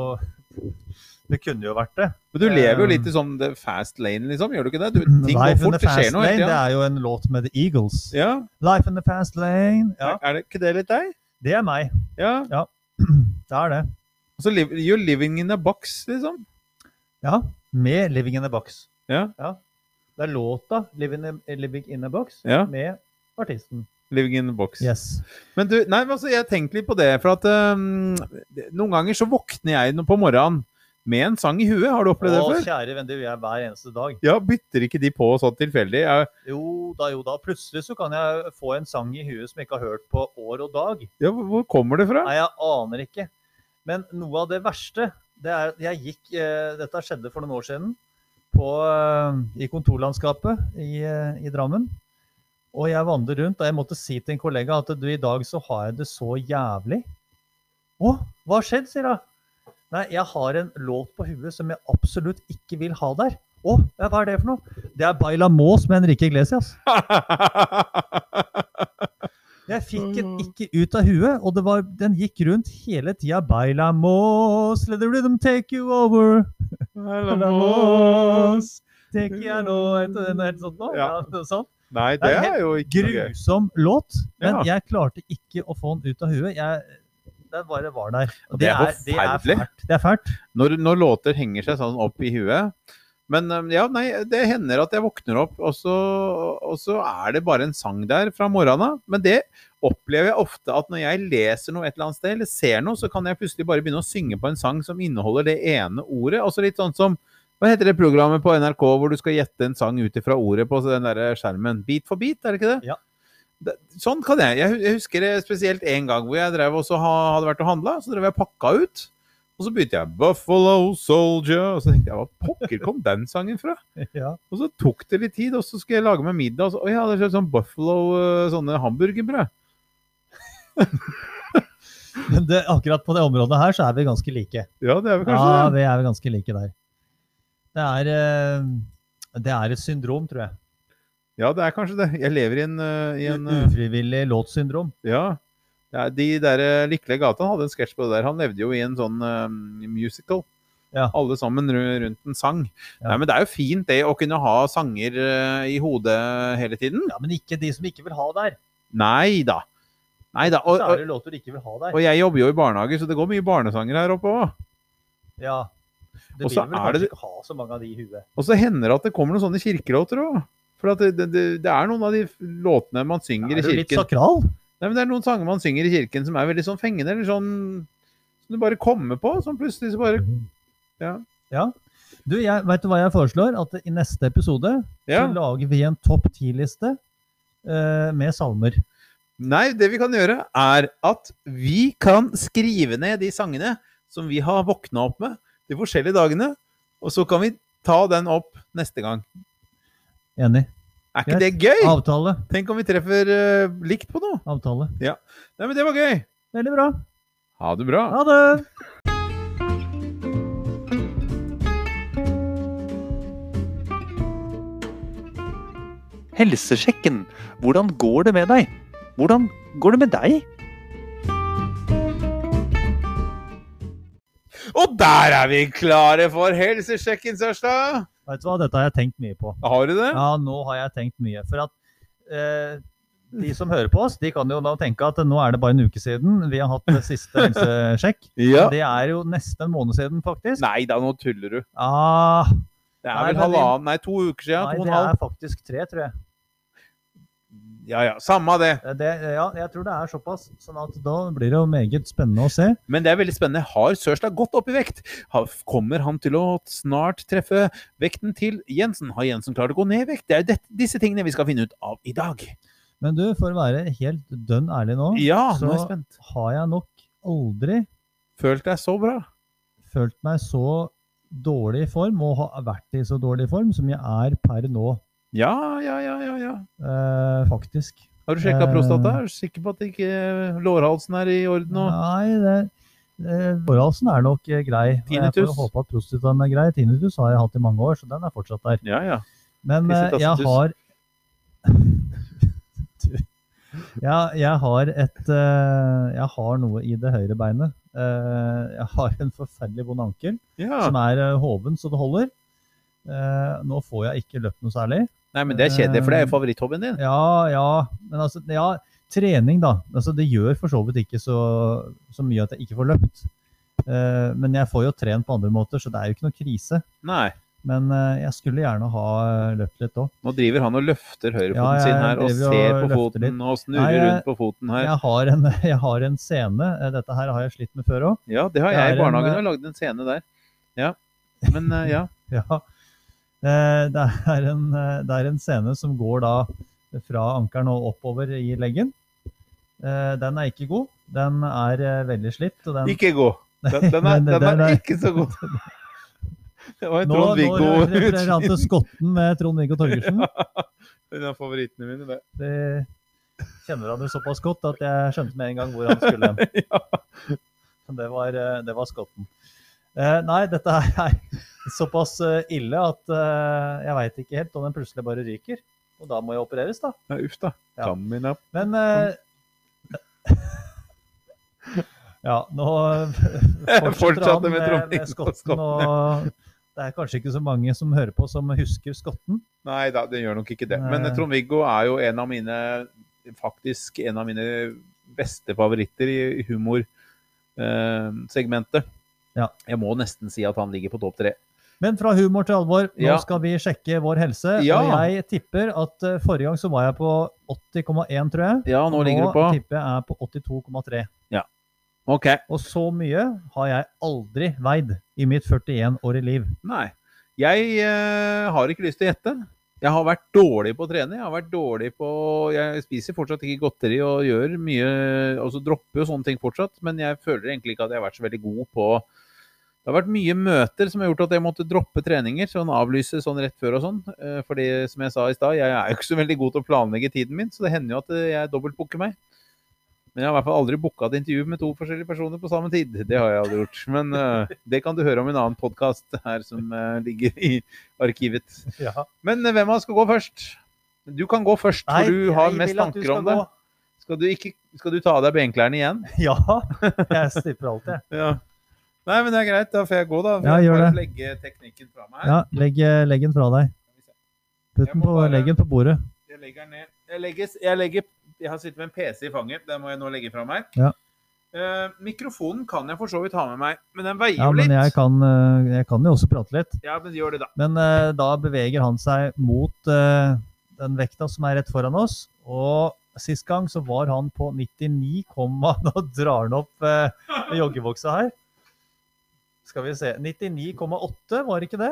Speaker 2: Det kunne jo vært det.
Speaker 1: men du lever jo
Speaker 2: eh,
Speaker 1: litt i sånn the fast lane, liksom. Gjør du ikke det? Du, ting går
Speaker 2: Life in
Speaker 1: fort,
Speaker 2: the
Speaker 1: det
Speaker 2: Fast
Speaker 1: skjer noe
Speaker 2: Lane,
Speaker 1: hele
Speaker 2: det
Speaker 1: tida.
Speaker 2: er jo en låt med The Eagles.
Speaker 1: Ja.
Speaker 2: Life in the Fast Lane. Ja,
Speaker 1: Er- Er det ikke det litt deg?
Speaker 2: det er meg.
Speaker 1: Ja.
Speaker 2: Det er det.
Speaker 1: Altså, liv- you're living in a box, liksom.
Speaker 2: Ja, med 'Living in a Box'.
Speaker 1: Ja.
Speaker 2: Det er låta 'Living in, eh, Living in a Box'
Speaker 1: Ja.
Speaker 2: med artisten.
Speaker 1: Living in a box.
Speaker 2: Yes.
Speaker 1: Men du, nei, men altså, jeg tenkte litt på det, for at øhm, det- noen ganger så våkner jeg nå på morgenen med en sang i huet. Har du opplevd det
Speaker 2: Å,
Speaker 1: før?
Speaker 2: kjære venn, det gjør jeg hver eneste dag.
Speaker 1: Ja, bytter ikke de på sånn tilfeldig? Jeg-
Speaker 2: Jo da, jo da. Plutselig så kan jeg få en sang i huet som jeg ikke har hørt på år og dag.
Speaker 1: Ja, hvor hvor kommer det fra?
Speaker 2: Nei, jeg aner ikke. Men noe av det verste det er at Jeg gikk eh, Dette skjedde for noen år siden på, eh, i kontorlandskapet i, eh, i Drammen. Og jeg vandret rundt, og jeg måtte si til en kollega at du, i dag så har jeg det så jævlig. Å, hva har skjedd, sier hun. Nei, jeg har en låt på huet som jeg absolutt ikke vil ha der. Å, ja, hva er det for noe? Det er Baila Mås med Henrique Iglesias. Jeg fikk den ikke ut av huet, og det var, den gikk rundt hele tida. Baila Mås, let the rhythm take you over. Baila Mås, take you nå etter den helt sånn nå. Ja.
Speaker 1: Ja.
Speaker 2: noe sånt.
Speaker 1: Nei, det
Speaker 2: Nei, helt
Speaker 1: er jo ikke noe gøy.
Speaker 2: Grusom låt, men
Speaker 1: Ja.
Speaker 2: jeg klarte ikke å få den ut av huet. Jeg, den bare var der. Og
Speaker 1: Det er
Speaker 2: det er
Speaker 1: forferdelig.
Speaker 2: fælt. Det er fælt.
Speaker 1: Når, når låter henger seg sånn opp i huet. Men øhm, ja, nei, det hender at jeg våkner opp, og så, og så er det bare en sang der fra morgenen av. Men det opplever jeg ofte at når jeg leser noe et eller annet sted, eller ser noe, så kan jeg plutselig bare begynne å synge på en sang som inneholder det ene ordet. Altså litt sånn som Hva heter det programmet på NRK hvor du skal gjette en sang ut ifra ordet på den der skjermen? Beat for beat, er det ikke det?
Speaker 2: Ja.
Speaker 1: Det- Sånn kan jeg. Jeg hu- jeg husker det spesielt en gang hvor jeg drev også ha, hadde vært og handla. Så drev jeg og pakka ut. Og så begynte jeg 'Buffalo Soldier', og så tenkte jeg hva pokker kom den sangen fra?
Speaker 2: Ja.
Speaker 1: Og så tok det litt tid, og så skulle jeg lage meg middag. Og så, «Å, jeg hadde kjøpt sånn Buffalo eh, sånne hamburgerbrød.
Speaker 2: Men det, akkurat på det området her så er vi ganske like.
Speaker 1: Ja, det er vel kanskje
Speaker 2: Ja,
Speaker 1: det.
Speaker 2: vi er ganske like der. Det er, eh, det er et syndrom, tror jeg.
Speaker 1: Ja, det er kanskje det. Jeg lever i en, eh, i en
Speaker 2: U-
Speaker 1: eh,
Speaker 2: Ufrivillig låtsyndrom.
Speaker 1: Ja. Det er- De der eh, lykkelige gatene hadde en sketsj på det der. Han levde jo i en sånn eh, musical.
Speaker 2: Ja.
Speaker 1: Alle sammen ru- rundt en sang.
Speaker 2: Ja.
Speaker 1: Nei, men det er jo fint det å kunne ha sanger eh, i hodet hele tiden.
Speaker 2: Ja, men ikke de som ikke vil ha der.
Speaker 1: Nei da. Nei da. Og,
Speaker 2: Så er
Speaker 1: og,
Speaker 2: det låter de ikke vil ha der.
Speaker 1: og jeg jobber jo i barnehage, så det går mye barnesanger her oppe òg.
Speaker 2: Ja. Det
Speaker 1: Og
Speaker 2: vil
Speaker 1: så
Speaker 2: vel
Speaker 1: er
Speaker 2: kanskje
Speaker 1: det-
Speaker 2: ikke ha så mange av de i huet.
Speaker 1: Og så hender det at det kommer noen sånne kirkelåter òg. For at det, det, det, det er noen av de låtene man synger
Speaker 2: Er
Speaker 1: i
Speaker 2: du litt
Speaker 1: kirken
Speaker 2: sakral?
Speaker 1: Nei, men Det er noen sanger man synger i kirken som er veldig sånn fengende, eller sånn Som du bare kommer på, som plutselig så bare Ja.
Speaker 2: Du, jeg, vet du hva jeg foreslår? At i neste episode
Speaker 1: Ja.
Speaker 2: så lager vi en topp ti-liste eh, med salmer.
Speaker 1: Nei, det vi kan gjøre, er at vi kan skrive ned de sangene som vi har våkna opp med de forskjellige dagene, og så kan vi ta den opp neste gang.
Speaker 2: Enig.
Speaker 1: Er ikke det gøy?
Speaker 2: Avtale.
Speaker 1: Tenk om vi treffer eh, likt på noe.
Speaker 2: Avtale.
Speaker 1: Nei, men det var gøy.
Speaker 2: Veldig bra.
Speaker 1: Ha det bra.
Speaker 2: Ha det!
Speaker 3: Helsesjekken. Hvordan går det med deg? Hvordan går det med deg?
Speaker 1: Og der er vi klare for helsesjekken, Sørstad!
Speaker 2: Vet du hva, dette har jeg tenkt mye på.
Speaker 1: Har du det?
Speaker 2: Ja, nå har jeg tenkt mye. For at eh, de som hører på oss, de kan jo da tenke at nå er det bare en uke siden vi har hatt det siste helsesjekk. Det er jo nesten en måned siden, faktisk.
Speaker 1: Nei da, nå tuller du.
Speaker 2: Ah,
Speaker 1: Det
Speaker 2: Nei,
Speaker 1: er vel
Speaker 2: men-
Speaker 1: halvannen, nei, to uker siden.
Speaker 2: nei,
Speaker 1: to og
Speaker 2: det
Speaker 1: en halv.
Speaker 2: er faktisk tre, tror jeg.
Speaker 1: Ja ja, samme av det.
Speaker 2: Det, ja, jeg tror det er såpass. sånn at da blir det jo meget spennende å se.
Speaker 1: Men det er veldig spennende. Har Sørstad gått opp i vekt? Har, kommer han til å snart treffe vekten til Jensen? Har Jensen klart å gå ned i vekt? Det er jo dette- disse tingene vi skal finne ut av i dag.
Speaker 2: Men du, for å være helt dønn ærlig nå,
Speaker 1: Ja, nå er jeg
Speaker 2: Så-
Speaker 1: spent.
Speaker 2: har jeg nok aldri
Speaker 1: Følt deg så bra.
Speaker 2: følt meg så dårlig i form, og har vært i så dårlig form, som jeg er per nå,
Speaker 1: Ja, ja, ja, ja. ja.
Speaker 2: eh, faktisk.
Speaker 1: Har du sjekka
Speaker 2: Eh.
Speaker 1: prostata? Er du sikker på at ikke eh, lårhalsen er i orden? Og...
Speaker 2: Nei, det eh, Forhalsen er nok eh, grei. og Jeg
Speaker 1: Tinnitus.
Speaker 2: får håpe at prostataen er grei. Tinnitus har jeg hatt i mange år, så den er fortsatt der.
Speaker 1: Ja, ja.
Speaker 2: Men eh, jeg
Speaker 1: Tissetassetus.
Speaker 2: har Du. ja, jeg har et eh, Jeg har noe i det høyre beinet. Eh, jeg har en forferdelig vond ankel,
Speaker 1: ja.
Speaker 2: som er eh, hoven så det holder. Eh, nå får jeg ikke løpt noe særlig.
Speaker 1: Nei, men det er kjedelig, for det er
Speaker 2: Eh.
Speaker 1: jo favoritthobbyen din.
Speaker 2: Ja, ja. Men altså, ja, trening, da. Altså, det gjør for så vidt ikke så, så mye at jeg ikke får løpt. Eh, men jeg får jo trent på andre måter, så det er jo ikke noe krise.
Speaker 1: Nei.
Speaker 2: Men eh, jeg skulle gjerne ha eh, løpt litt òg.
Speaker 1: Nå driver han og løfter
Speaker 2: Ja,
Speaker 1: høyrefoten
Speaker 2: jeg
Speaker 1: sin her og
Speaker 2: driver og
Speaker 1: ser på
Speaker 2: løfter
Speaker 1: foten
Speaker 2: litt.
Speaker 1: og snurrer
Speaker 2: Nei, jeg-
Speaker 1: rundt på foten her.
Speaker 2: Jeg har en, jeg har en scene. eh, Dette her har jeg slitt med før òg.
Speaker 1: Ja, det har
Speaker 2: Det
Speaker 1: jeg
Speaker 2: er
Speaker 1: i barnehagen.
Speaker 2: en,
Speaker 1: Jeg
Speaker 2: eh,
Speaker 1: har lagd en scene der. Ja. Men eh, ja.
Speaker 2: Ja. Eh, Det, er en, eh, det er en scene som går da fra ankelen og oppover i leggen. Eh, Den er ikke god. Den er eh, veldig slitt. Og den,
Speaker 1: Ikke god. Den, den, er,
Speaker 2: Men det-
Speaker 1: den
Speaker 2: den
Speaker 1: er
Speaker 2: er-
Speaker 1: ikke så god. Det var en
Speaker 2: nå nå
Speaker 1: Trond-Viggo
Speaker 2: refererer han til skotten med Trond-Viggo Torgersen.
Speaker 1: Den er favorittene mine, det.
Speaker 2: Det kjenner han jo såpass godt at jeg skjønte med en gang hvor han skulle hen.
Speaker 1: Ja.
Speaker 2: Det var, eh, det var skotten. Eh, nei, dette her er såpass eh, ille at eh, jeg veit ikke helt om den plutselig bare ryker. Og da må jeg opereres, da.
Speaker 1: Nei, uff da.
Speaker 2: Ja.
Speaker 1: Kammen opp.
Speaker 2: Men eh, Ja, nå eh, fortsetter
Speaker 1: Fortsatte
Speaker 2: han
Speaker 1: med
Speaker 2: med,
Speaker 1: Trond Viggo
Speaker 2: med skotten. Og det er kanskje ikke så mange som hører på, som husker skotten.
Speaker 1: Nei da, den gjør nok ikke det. Men eh,
Speaker 2: Nei.
Speaker 1: Trond-Viggo er jo en av mine faktisk en av mine beste favoritter i humorsegmentet.
Speaker 2: Ja.
Speaker 1: Jeg må nesten si at han ligger på topp tre.
Speaker 2: Men fra humor til alvor, nå
Speaker 1: Ja.
Speaker 2: skal vi sjekke vår helse.
Speaker 1: Ja.
Speaker 2: Og jeg tipper at eh, forrige gang så var jeg på 80,1, tror jeg.
Speaker 1: Ja, nå ligger du på
Speaker 2: tipper jeg er på 82,3.
Speaker 1: OK.
Speaker 2: Og så mye har jeg aldri veid i mitt 41 år i liv.
Speaker 1: Nei. Jeg eh, har ikke lyst til å gjette. Jeg har vært dårlig på å trene. Jeg har vært dårlig på Jeg spiser fortsatt ikke godteri og gjør mye Altså dropper jo sånne ting fortsatt, men jeg føler egentlig ikke at jeg har vært så veldig god på Det har vært mye møter som har gjort at jeg måtte droppe treninger, sånn avlyse sånn rett før og sånn. Eh, Fordi som jeg sa i stad, jeg er jo ikke så veldig god til å planlegge tiden min, så det hender jo at eh, jeg dobbeltbooker meg. Men jeg har i hvert fall aldri booka et intervju med to forskjellige personer på samme tid. Det har jeg aldri gjort. Men eh, det kan du høre om i en annen podkast her som eh, ligger i arkivet. Men eh, hvem av oss skal gå først? Du kan gå først, for du har
Speaker 2: jeg
Speaker 1: mest
Speaker 2: vil at du
Speaker 1: tanker om
Speaker 2: skal
Speaker 1: det.
Speaker 2: gå.
Speaker 1: Skal du, ikke, skal du ta av deg benklærne igjen?
Speaker 2: Ja, jeg stipper alltid.
Speaker 1: Ja. Nei, men det er greit. Da får jeg gå, da.
Speaker 2: Ja,
Speaker 1: jeg
Speaker 2: gjør
Speaker 1: bare
Speaker 2: det.
Speaker 1: legge teknikken fra meg.
Speaker 2: Ja, legg, eh, legg den fra deg. Putt
Speaker 1: Jeg
Speaker 2: den
Speaker 1: må
Speaker 2: på,
Speaker 1: bare-
Speaker 2: legg den på bordet.
Speaker 1: Jeg legger den ned. Jeg, legger, jeg, legger, jeg har sittet med en PC i fanget. Den må jeg nå legge fra meg.
Speaker 2: Ja.
Speaker 1: Eh, mikrofonen kan jeg for så vidt ha med meg, men den veier
Speaker 2: Ja,
Speaker 1: jo litt.
Speaker 2: men jeg kan, eh, jeg kan jo også prate litt.
Speaker 1: Ja, men gjør det, da.
Speaker 2: Men eh, da beveger han seg mot eh, den vekta som er rett foran oss. Og sist gang så var han på 99, komma- nå drar han opp eh, joggebuksa her. Skal vi se 99,8 var ikke det?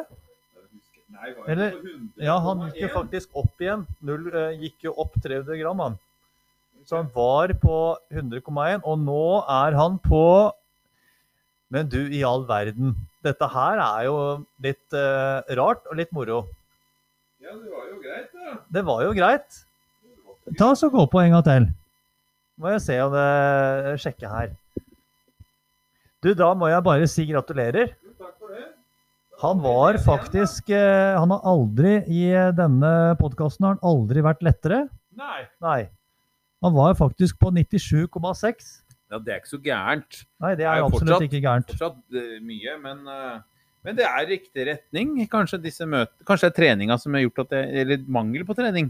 Speaker 1: Nei, var
Speaker 2: Eller-
Speaker 1: det på 100,1?
Speaker 2: Ja, han gikk jo faktisk opp igjen. Null, eh, gikk jo opp 300 gram, han. Så han var på 100,1, og nå er han på Men du, i all verden. Dette her er jo litt eh, rart og litt moro.
Speaker 1: Ja, det var jo greit, da.
Speaker 2: Det var jo greit. Ta oss og Gå på en gang til. Må jeg se om det sjekke her. Du, da må jeg bare si gratulerer.
Speaker 1: Jo, Takk for det.
Speaker 2: Han var faktisk eh, Han har aldri i eh, denne podkasten har han aldri vært lettere.
Speaker 1: Nei.
Speaker 2: Nei. Han var faktisk på 97,6.
Speaker 1: Ja, det er ikke så gærent.
Speaker 2: Nei, det
Speaker 1: Er
Speaker 2: er
Speaker 1: jo
Speaker 2: absolutt
Speaker 1: fortsatt-
Speaker 2: ikke gærent.
Speaker 1: Fortsatt eh, mye, men, eh, men det er riktig retning. Kanskje, disse møt Kanskje det er treninga som har gjort at jeg Eller mangel på trening.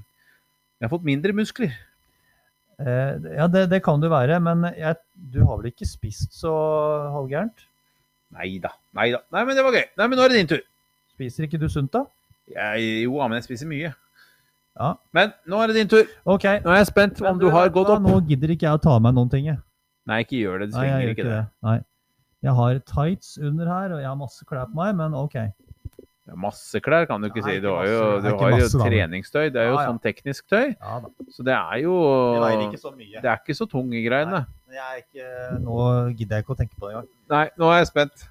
Speaker 1: Jeg har fått mindre muskler.
Speaker 2: Eh, ja, det, det kan du være, men jeg, du har vel ikke spist så halvgærent?
Speaker 1: Nei da. Nei da. Nei, men det var gøy. Nei, men nå er det din tur.
Speaker 2: Spiser ikke du sunt, da?
Speaker 1: Jeg, jo, ja, men jeg spiser mye.
Speaker 2: Ja.
Speaker 1: Men nå er det din tur.
Speaker 2: OK.
Speaker 1: Nå er jeg spent om du har gått
Speaker 2: Vet
Speaker 1: opp.
Speaker 2: hva, Nå gidder ikke jeg å ta med meg noen ting, jeg.
Speaker 1: Nei, ikke gjør det. Du
Speaker 2: Nei, jeg
Speaker 1: trenger
Speaker 2: gjør
Speaker 1: ikke det.
Speaker 2: Nei. Jeg har tights under her, og jeg har masse klær på meg, men OK.
Speaker 1: Det er Masse klær kan du ikke
Speaker 2: Nei,
Speaker 1: si. Du
Speaker 2: ikke
Speaker 1: har jo,
Speaker 2: masse.
Speaker 1: du
Speaker 2: Det er ikke
Speaker 1: har jo
Speaker 2: masse, da.
Speaker 1: treningstøy. Det er jo
Speaker 2: Ja, ja.
Speaker 1: sånn teknisk tøy.
Speaker 2: Ja da.
Speaker 1: Så det er jo
Speaker 2: Det veier ikke så mye.
Speaker 1: Det er ikke så tunge greiene.
Speaker 2: Men jeg er ikke, nå gidder jeg ikke å tenke på det engang.
Speaker 1: Nei, nå er jeg spent.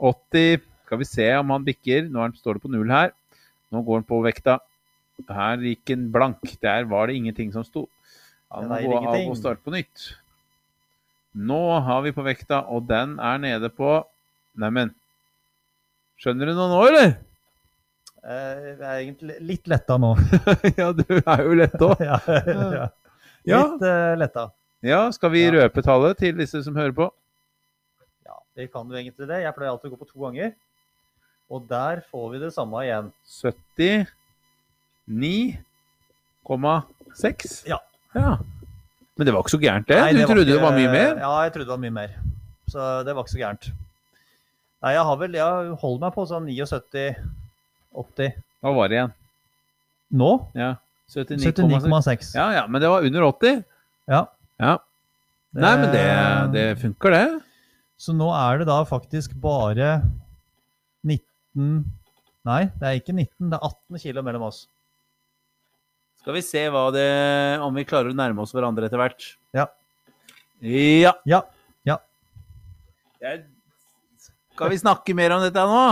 Speaker 1: 80 Skal vi se om han bikker. Nå er han, står det på null her. Nå går han på vekta. Her gikk han blank. Der var det ingenting som sto. Han
Speaker 2: Det
Speaker 1: må
Speaker 2: veier
Speaker 1: gå av
Speaker 2: ingenting.
Speaker 1: og starte på nytt. Nå har vi på vekta, og den er nede på Neimen Skjønner du noe nå, eller?
Speaker 2: Eh, Jeg er egentlig litt letta nå.
Speaker 1: ja, du er jo lett òg.
Speaker 2: ja, ja.
Speaker 1: Ja.
Speaker 2: Litt eh, letta.
Speaker 1: ja, skal vi
Speaker 2: Ja.
Speaker 1: røpe tallet til disse som hører på?
Speaker 2: Ja, vi kan jo egentlig det. Jeg pleier alltid å gå på to ganger. Og der får vi det samme igjen.
Speaker 1: 79,6.
Speaker 2: Ja.
Speaker 1: ja. Men det var ikke så gærent, det.
Speaker 2: Nei,
Speaker 1: du trodde det
Speaker 2: ikke-
Speaker 1: var mye mer?
Speaker 2: Ja, jeg trodde det var mye mer. Så det var ikke så gærent. Nei, jeg har vel Jeg holder meg på sånn 79-80
Speaker 1: Hva var det igjen?
Speaker 2: nå.
Speaker 1: Ja. 79,6.
Speaker 2: 79,6.
Speaker 1: Ja, ja, men det var under 80.
Speaker 2: Ja.
Speaker 1: Ja.
Speaker 2: Det-
Speaker 1: Nei, men det, det funker, det.
Speaker 2: Eh, Så nå er det da faktisk bare 19 Nei, det er ikke 19, det er 18 kilo mellom oss.
Speaker 1: Skal vi se hva det, om vi klarer å nærme oss hverandre etter hvert.
Speaker 2: Ja.
Speaker 1: Ja.
Speaker 2: Ja. Ja.
Speaker 1: Jeg, skal vi snakke mer om dette nå?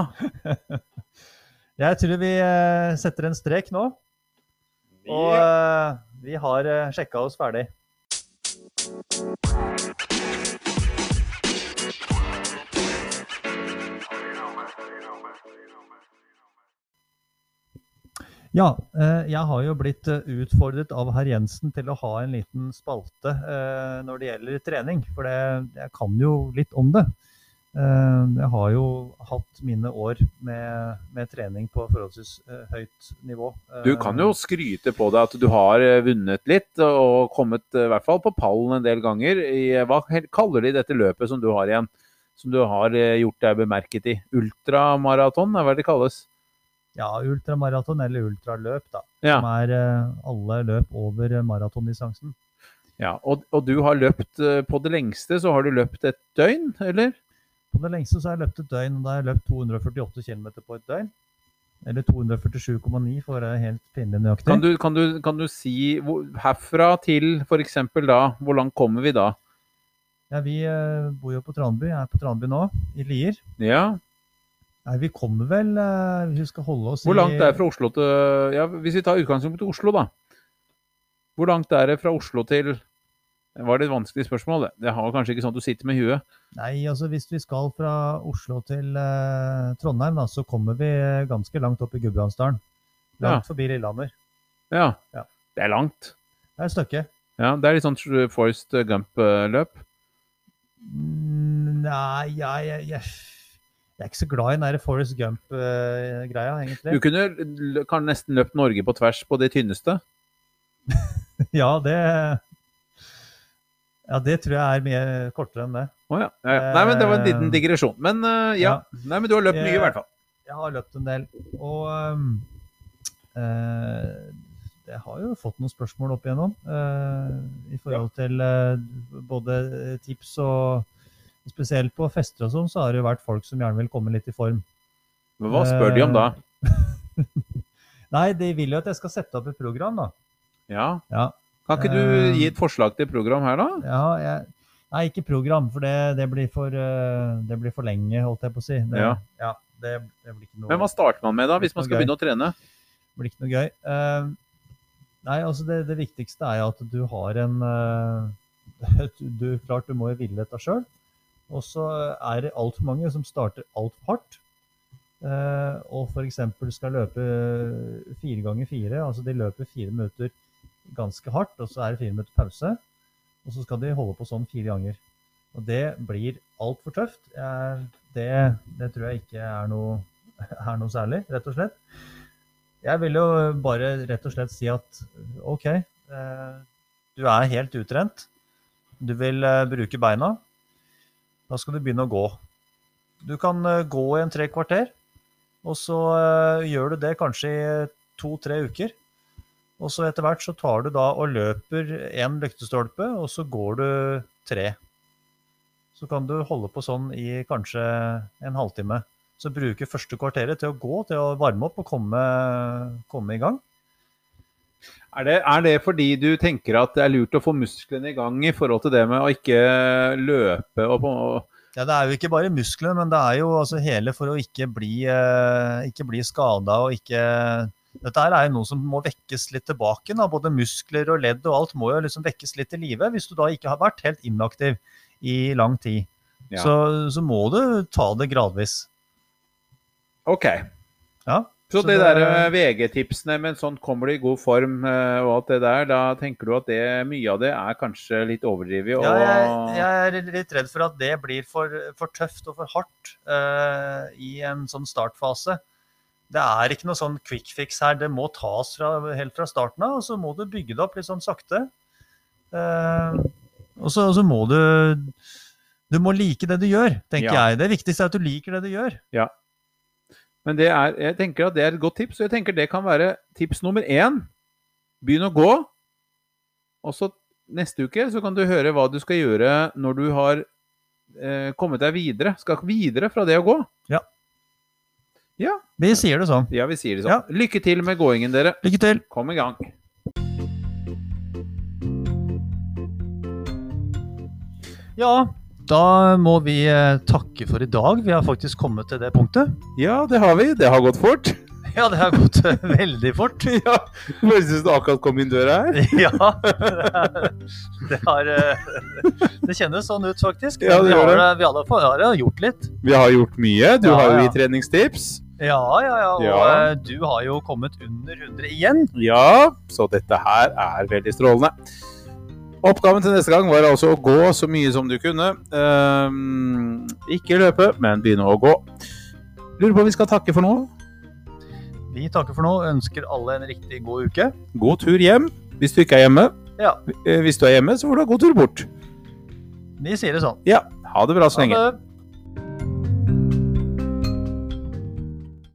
Speaker 2: Jeg tror vi eh, setter en strek nå. Og eh, vi har eh, sjekka oss ferdig. Ja, eh, jeg har jo blitt eh, utfordret av herr Jensen til å ha en liten spalte eh, når det gjelder trening. For det, jeg kan jo litt om det. Eh, Jeg har jo hatt mine år med, med trening på forholdsvis eh, høyt nivå. Eh,
Speaker 1: Du kan jo skryte på deg at du har eh, vunnet litt og kommet eh, i hvert fall på pallen en del ganger. I, eh, hva he- kaller de dette løpet som du har igjen? Som du har eh, gjort deg bemerket i? Ultramaraton, er hva det kalles?
Speaker 2: Ja, ultramaraton eller ultraløp, da.
Speaker 1: Ja.
Speaker 2: Som er eh, alle løp over eh, maratondistansen.
Speaker 1: ja. Og, og du har løpt eh, på det lengste, så har du løpt et døgn, eller?
Speaker 2: På det lengste så har jeg løpt et døgn, og da har jeg løpt 248 km på et døgn. Eller 247,9 for å være helt pinlig nøyaktig.
Speaker 1: Kan du, kan du, kan du si hvor, herfra til f.eks. da, hvor langt kommer vi da?
Speaker 2: Ja, vi eh, bor jo på Tranby. Jeg er på Tranby nå, i Lier.
Speaker 1: Ja.
Speaker 2: Nei, vi kommer vel eh, Hvis vi skal holde oss
Speaker 1: Hvor langt
Speaker 2: i
Speaker 1: det er fra Oslo til Ja, hvis vi tar utgangspunkt i Oslo, da. Hvor langt er det fra Oslo til Var det et vanskelig spørsmål? Det, det har kanskje ikke sånn at du sitter med huet.
Speaker 2: Nei, altså hvis vi skal fra Oslo til eh, Trondheim, da, så kommer vi eh, ganske langt opp i Gudbrandsdalen. Langt forbi Lillehammer.
Speaker 1: Ja.
Speaker 2: Ja.
Speaker 1: Det er langt.
Speaker 2: Det er et stykke.
Speaker 1: Ja, Det er litt sånn Forest Gump-løp.
Speaker 2: Mm, Nei, jeg, jeg, jeg, jeg er ikke så glad i den der Forest Gump-greia,
Speaker 1: Du
Speaker 2: egentlig.
Speaker 1: kunne l- kan nesten løpt Norge på tvers på det tynneste.
Speaker 2: Ja, det Ja, det tror jeg er mye kortere enn det.
Speaker 1: Å ja. ja. ja. Nei, men det var en liten digresjon. Men eh, ja.
Speaker 2: Ja.
Speaker 1: Nei, men du har løpt mye, i hvert fall.
Speaker 2: Jeg har løpt en del. Og ehm, eh, jeg har jo fått noen spørsmål opp igjennom eh, i forhold til eh, både eh, tips og Spesielt på fester og sånn, så har det jo vært folk som gjerne vil komme litt i form.
Speaker 1: Men hva spør de om
Speaker 2: Eh,
Speaker 1: da?
Speaker 2: Nei, de vil jo at jeg skal sette opp et program, da.
Speaker 1: Ja.
Speaker 2: Ja.
Speaker 1: Kan ikke
Speaker 2: Eh,
Speaker 1: du gi et forslag til program her, da?
Speaker 2: Ja, jeg, nei, ikke program, for det, det, blir for, eh, det blir for lenge, holdt jeg på å si. Det,
Speaker 1: Ja.
Speaker 2: det, det blir ikke noe
Speaker 1: Men hva starter man med da, hvis man skal
Speaker 2: Gøy.
Speaker 1: begynne å trene?
Speaker 2: blir ikke noe gøy. Eh, nei, altså det, det viktigste er jo at du har en eh, du, du, Klart du må jo ville dette sjøl. Og så er det altfor mange som starter altfor hardt. Uh, og f.eks. skal løpe fire ganger fire. Altså de løper fire minutter ganske hardt, og så er det fire minutter pause. Og så skal de holde på sånn fire ganger. Og det blir altfor tøft. Eh, det, det tror jeg ikke er noe, er noe særlig, rett og slett. Jeg vil jo bare rett og slett si at OK, eh, du er helt utrent. Du vil eh, bruke beina. Da skal du begynne å gå. Du kan eh, gå i en tre kvarter, og så eh, gjør du det kanskje i to-tre uker. Og så etter hvert så tar du da og løper én lyktestolpe, og så går du tre. Så kan du holde på sånn i kanskje en halvtime. Så bruke første kvarteret til å gå, til å varme opp og komme, komme i gang.
Speaker 1: Er det, er det fordi du tenker at det er lurt å få musklene i gang i forhold til det med å ikke løpe og på
Speaker 2: Ja, Det er jo ikke bare muskler, men det er jo altså hele for å ikke bli, eh, ikke bli skada og ikke Dette her er jo noe som må vekkes litt tilbake. Da. Både muskler og ledd og alt må jo liksom vekkes litt til live hvis du da ikke har vært helt inaktiv i lang tid.
Speaker 1: Ja.
Speaker 2: Så, så må du ta det gradvis.
Speaker 1: OK.
Speaker 2: Ja.
Speaker 1: Så,
Speaker 2: Så
Speaker 1: det,
Speaker 2: det-
Speaker 1: der eh, VG-tipsene, men sånn kommer du i god form eh, og alt det der, da tenker du at det, mye av det er kanskje litt overdrevet og
Speaker 2: Ja, jeg, jeg er litt redd for at det blir for, for tøft og for hardt eh, i en sånn startfase. Det er ikke noe sånn quick fix her. Det må tas fra, helt fra starten av, og så må du bygge det opp litt sånn sakte. Eh, og, så, og så må du Du må like det du gjør, tenker
Speaker 1: Ja.
Speaker 2: jeg. Det viktigste er at du liker det du gjør.
Speaker 1: Men det er, jeg tenker at det er et godt tips, og jeg tenker det kan være tips nummer én. Begynn å gå, og så neste uke så kan du høre hva du skal gjøre når du har eh, kommet deg videre. Skal videre fra det å gå.
Speaker 2: Vi sier det sånn.
Speaker 1: Ja, vi sier det
Speaker 2: Ja.
Speaker 1: sånn. Lykke til med gåingen, dere.
Speaker 2: Lykke til.
Speaker 1: Kom i gang.
Speaker 2: Ja, da må vi eh, takke for i dag. Vi har faktisk kommet til det punktet.
Speaker 1: Ja, det har vi. Det har gått fort.
Speaker 2: Ja, det har gått eh, veldig fort.
Speaker 1: Ja, Høres ut som du akkurat kom inn døra her.
Speaker 2: Ja. Det, har, eh, det kjennes sånn ut, faktisk.
Speaker 1: Ja, det
Speaker 2: vi
Speaker 1: gjør
Speaker 2: har,
Speaker 1: det.
Speaker 2: eh, Vi alle får- har eh, gjort litt.
Speaker 1: Vi har gjort mye. Du
Speaker 2: Ja,
Speaker 1: har jo
Speaker 2: ja.
Speaker 1: gitt treningstips.
Speaker 2: Ja, ja, ja. Og
Speaker 1: Ja.
Speaker 2: eh, du har jo kommet under 100 igjen.
Speaker 1: Ja, så dette her er veldig strålende. Oppgaven til neste gang var altså å gå så mye som du kunne. Ehm, ikke løpe, men begynne å gå. Lurer på om vi skal takke for nå.
Speaker 2: Vi takker for nå. Ønsker alle en riktig god uke.
Speaker 1: God tur hjem hvis du ikke er hjemme.
Speaker 2: Ja.
Speaker 1: Eh, Hvis du er hjemme, så får du ha god tur bort.
Speaker 2: Vi sier det sånn.
Speaker 1: Ja, ha det bra så lenge.
Speaker 2: Ha det.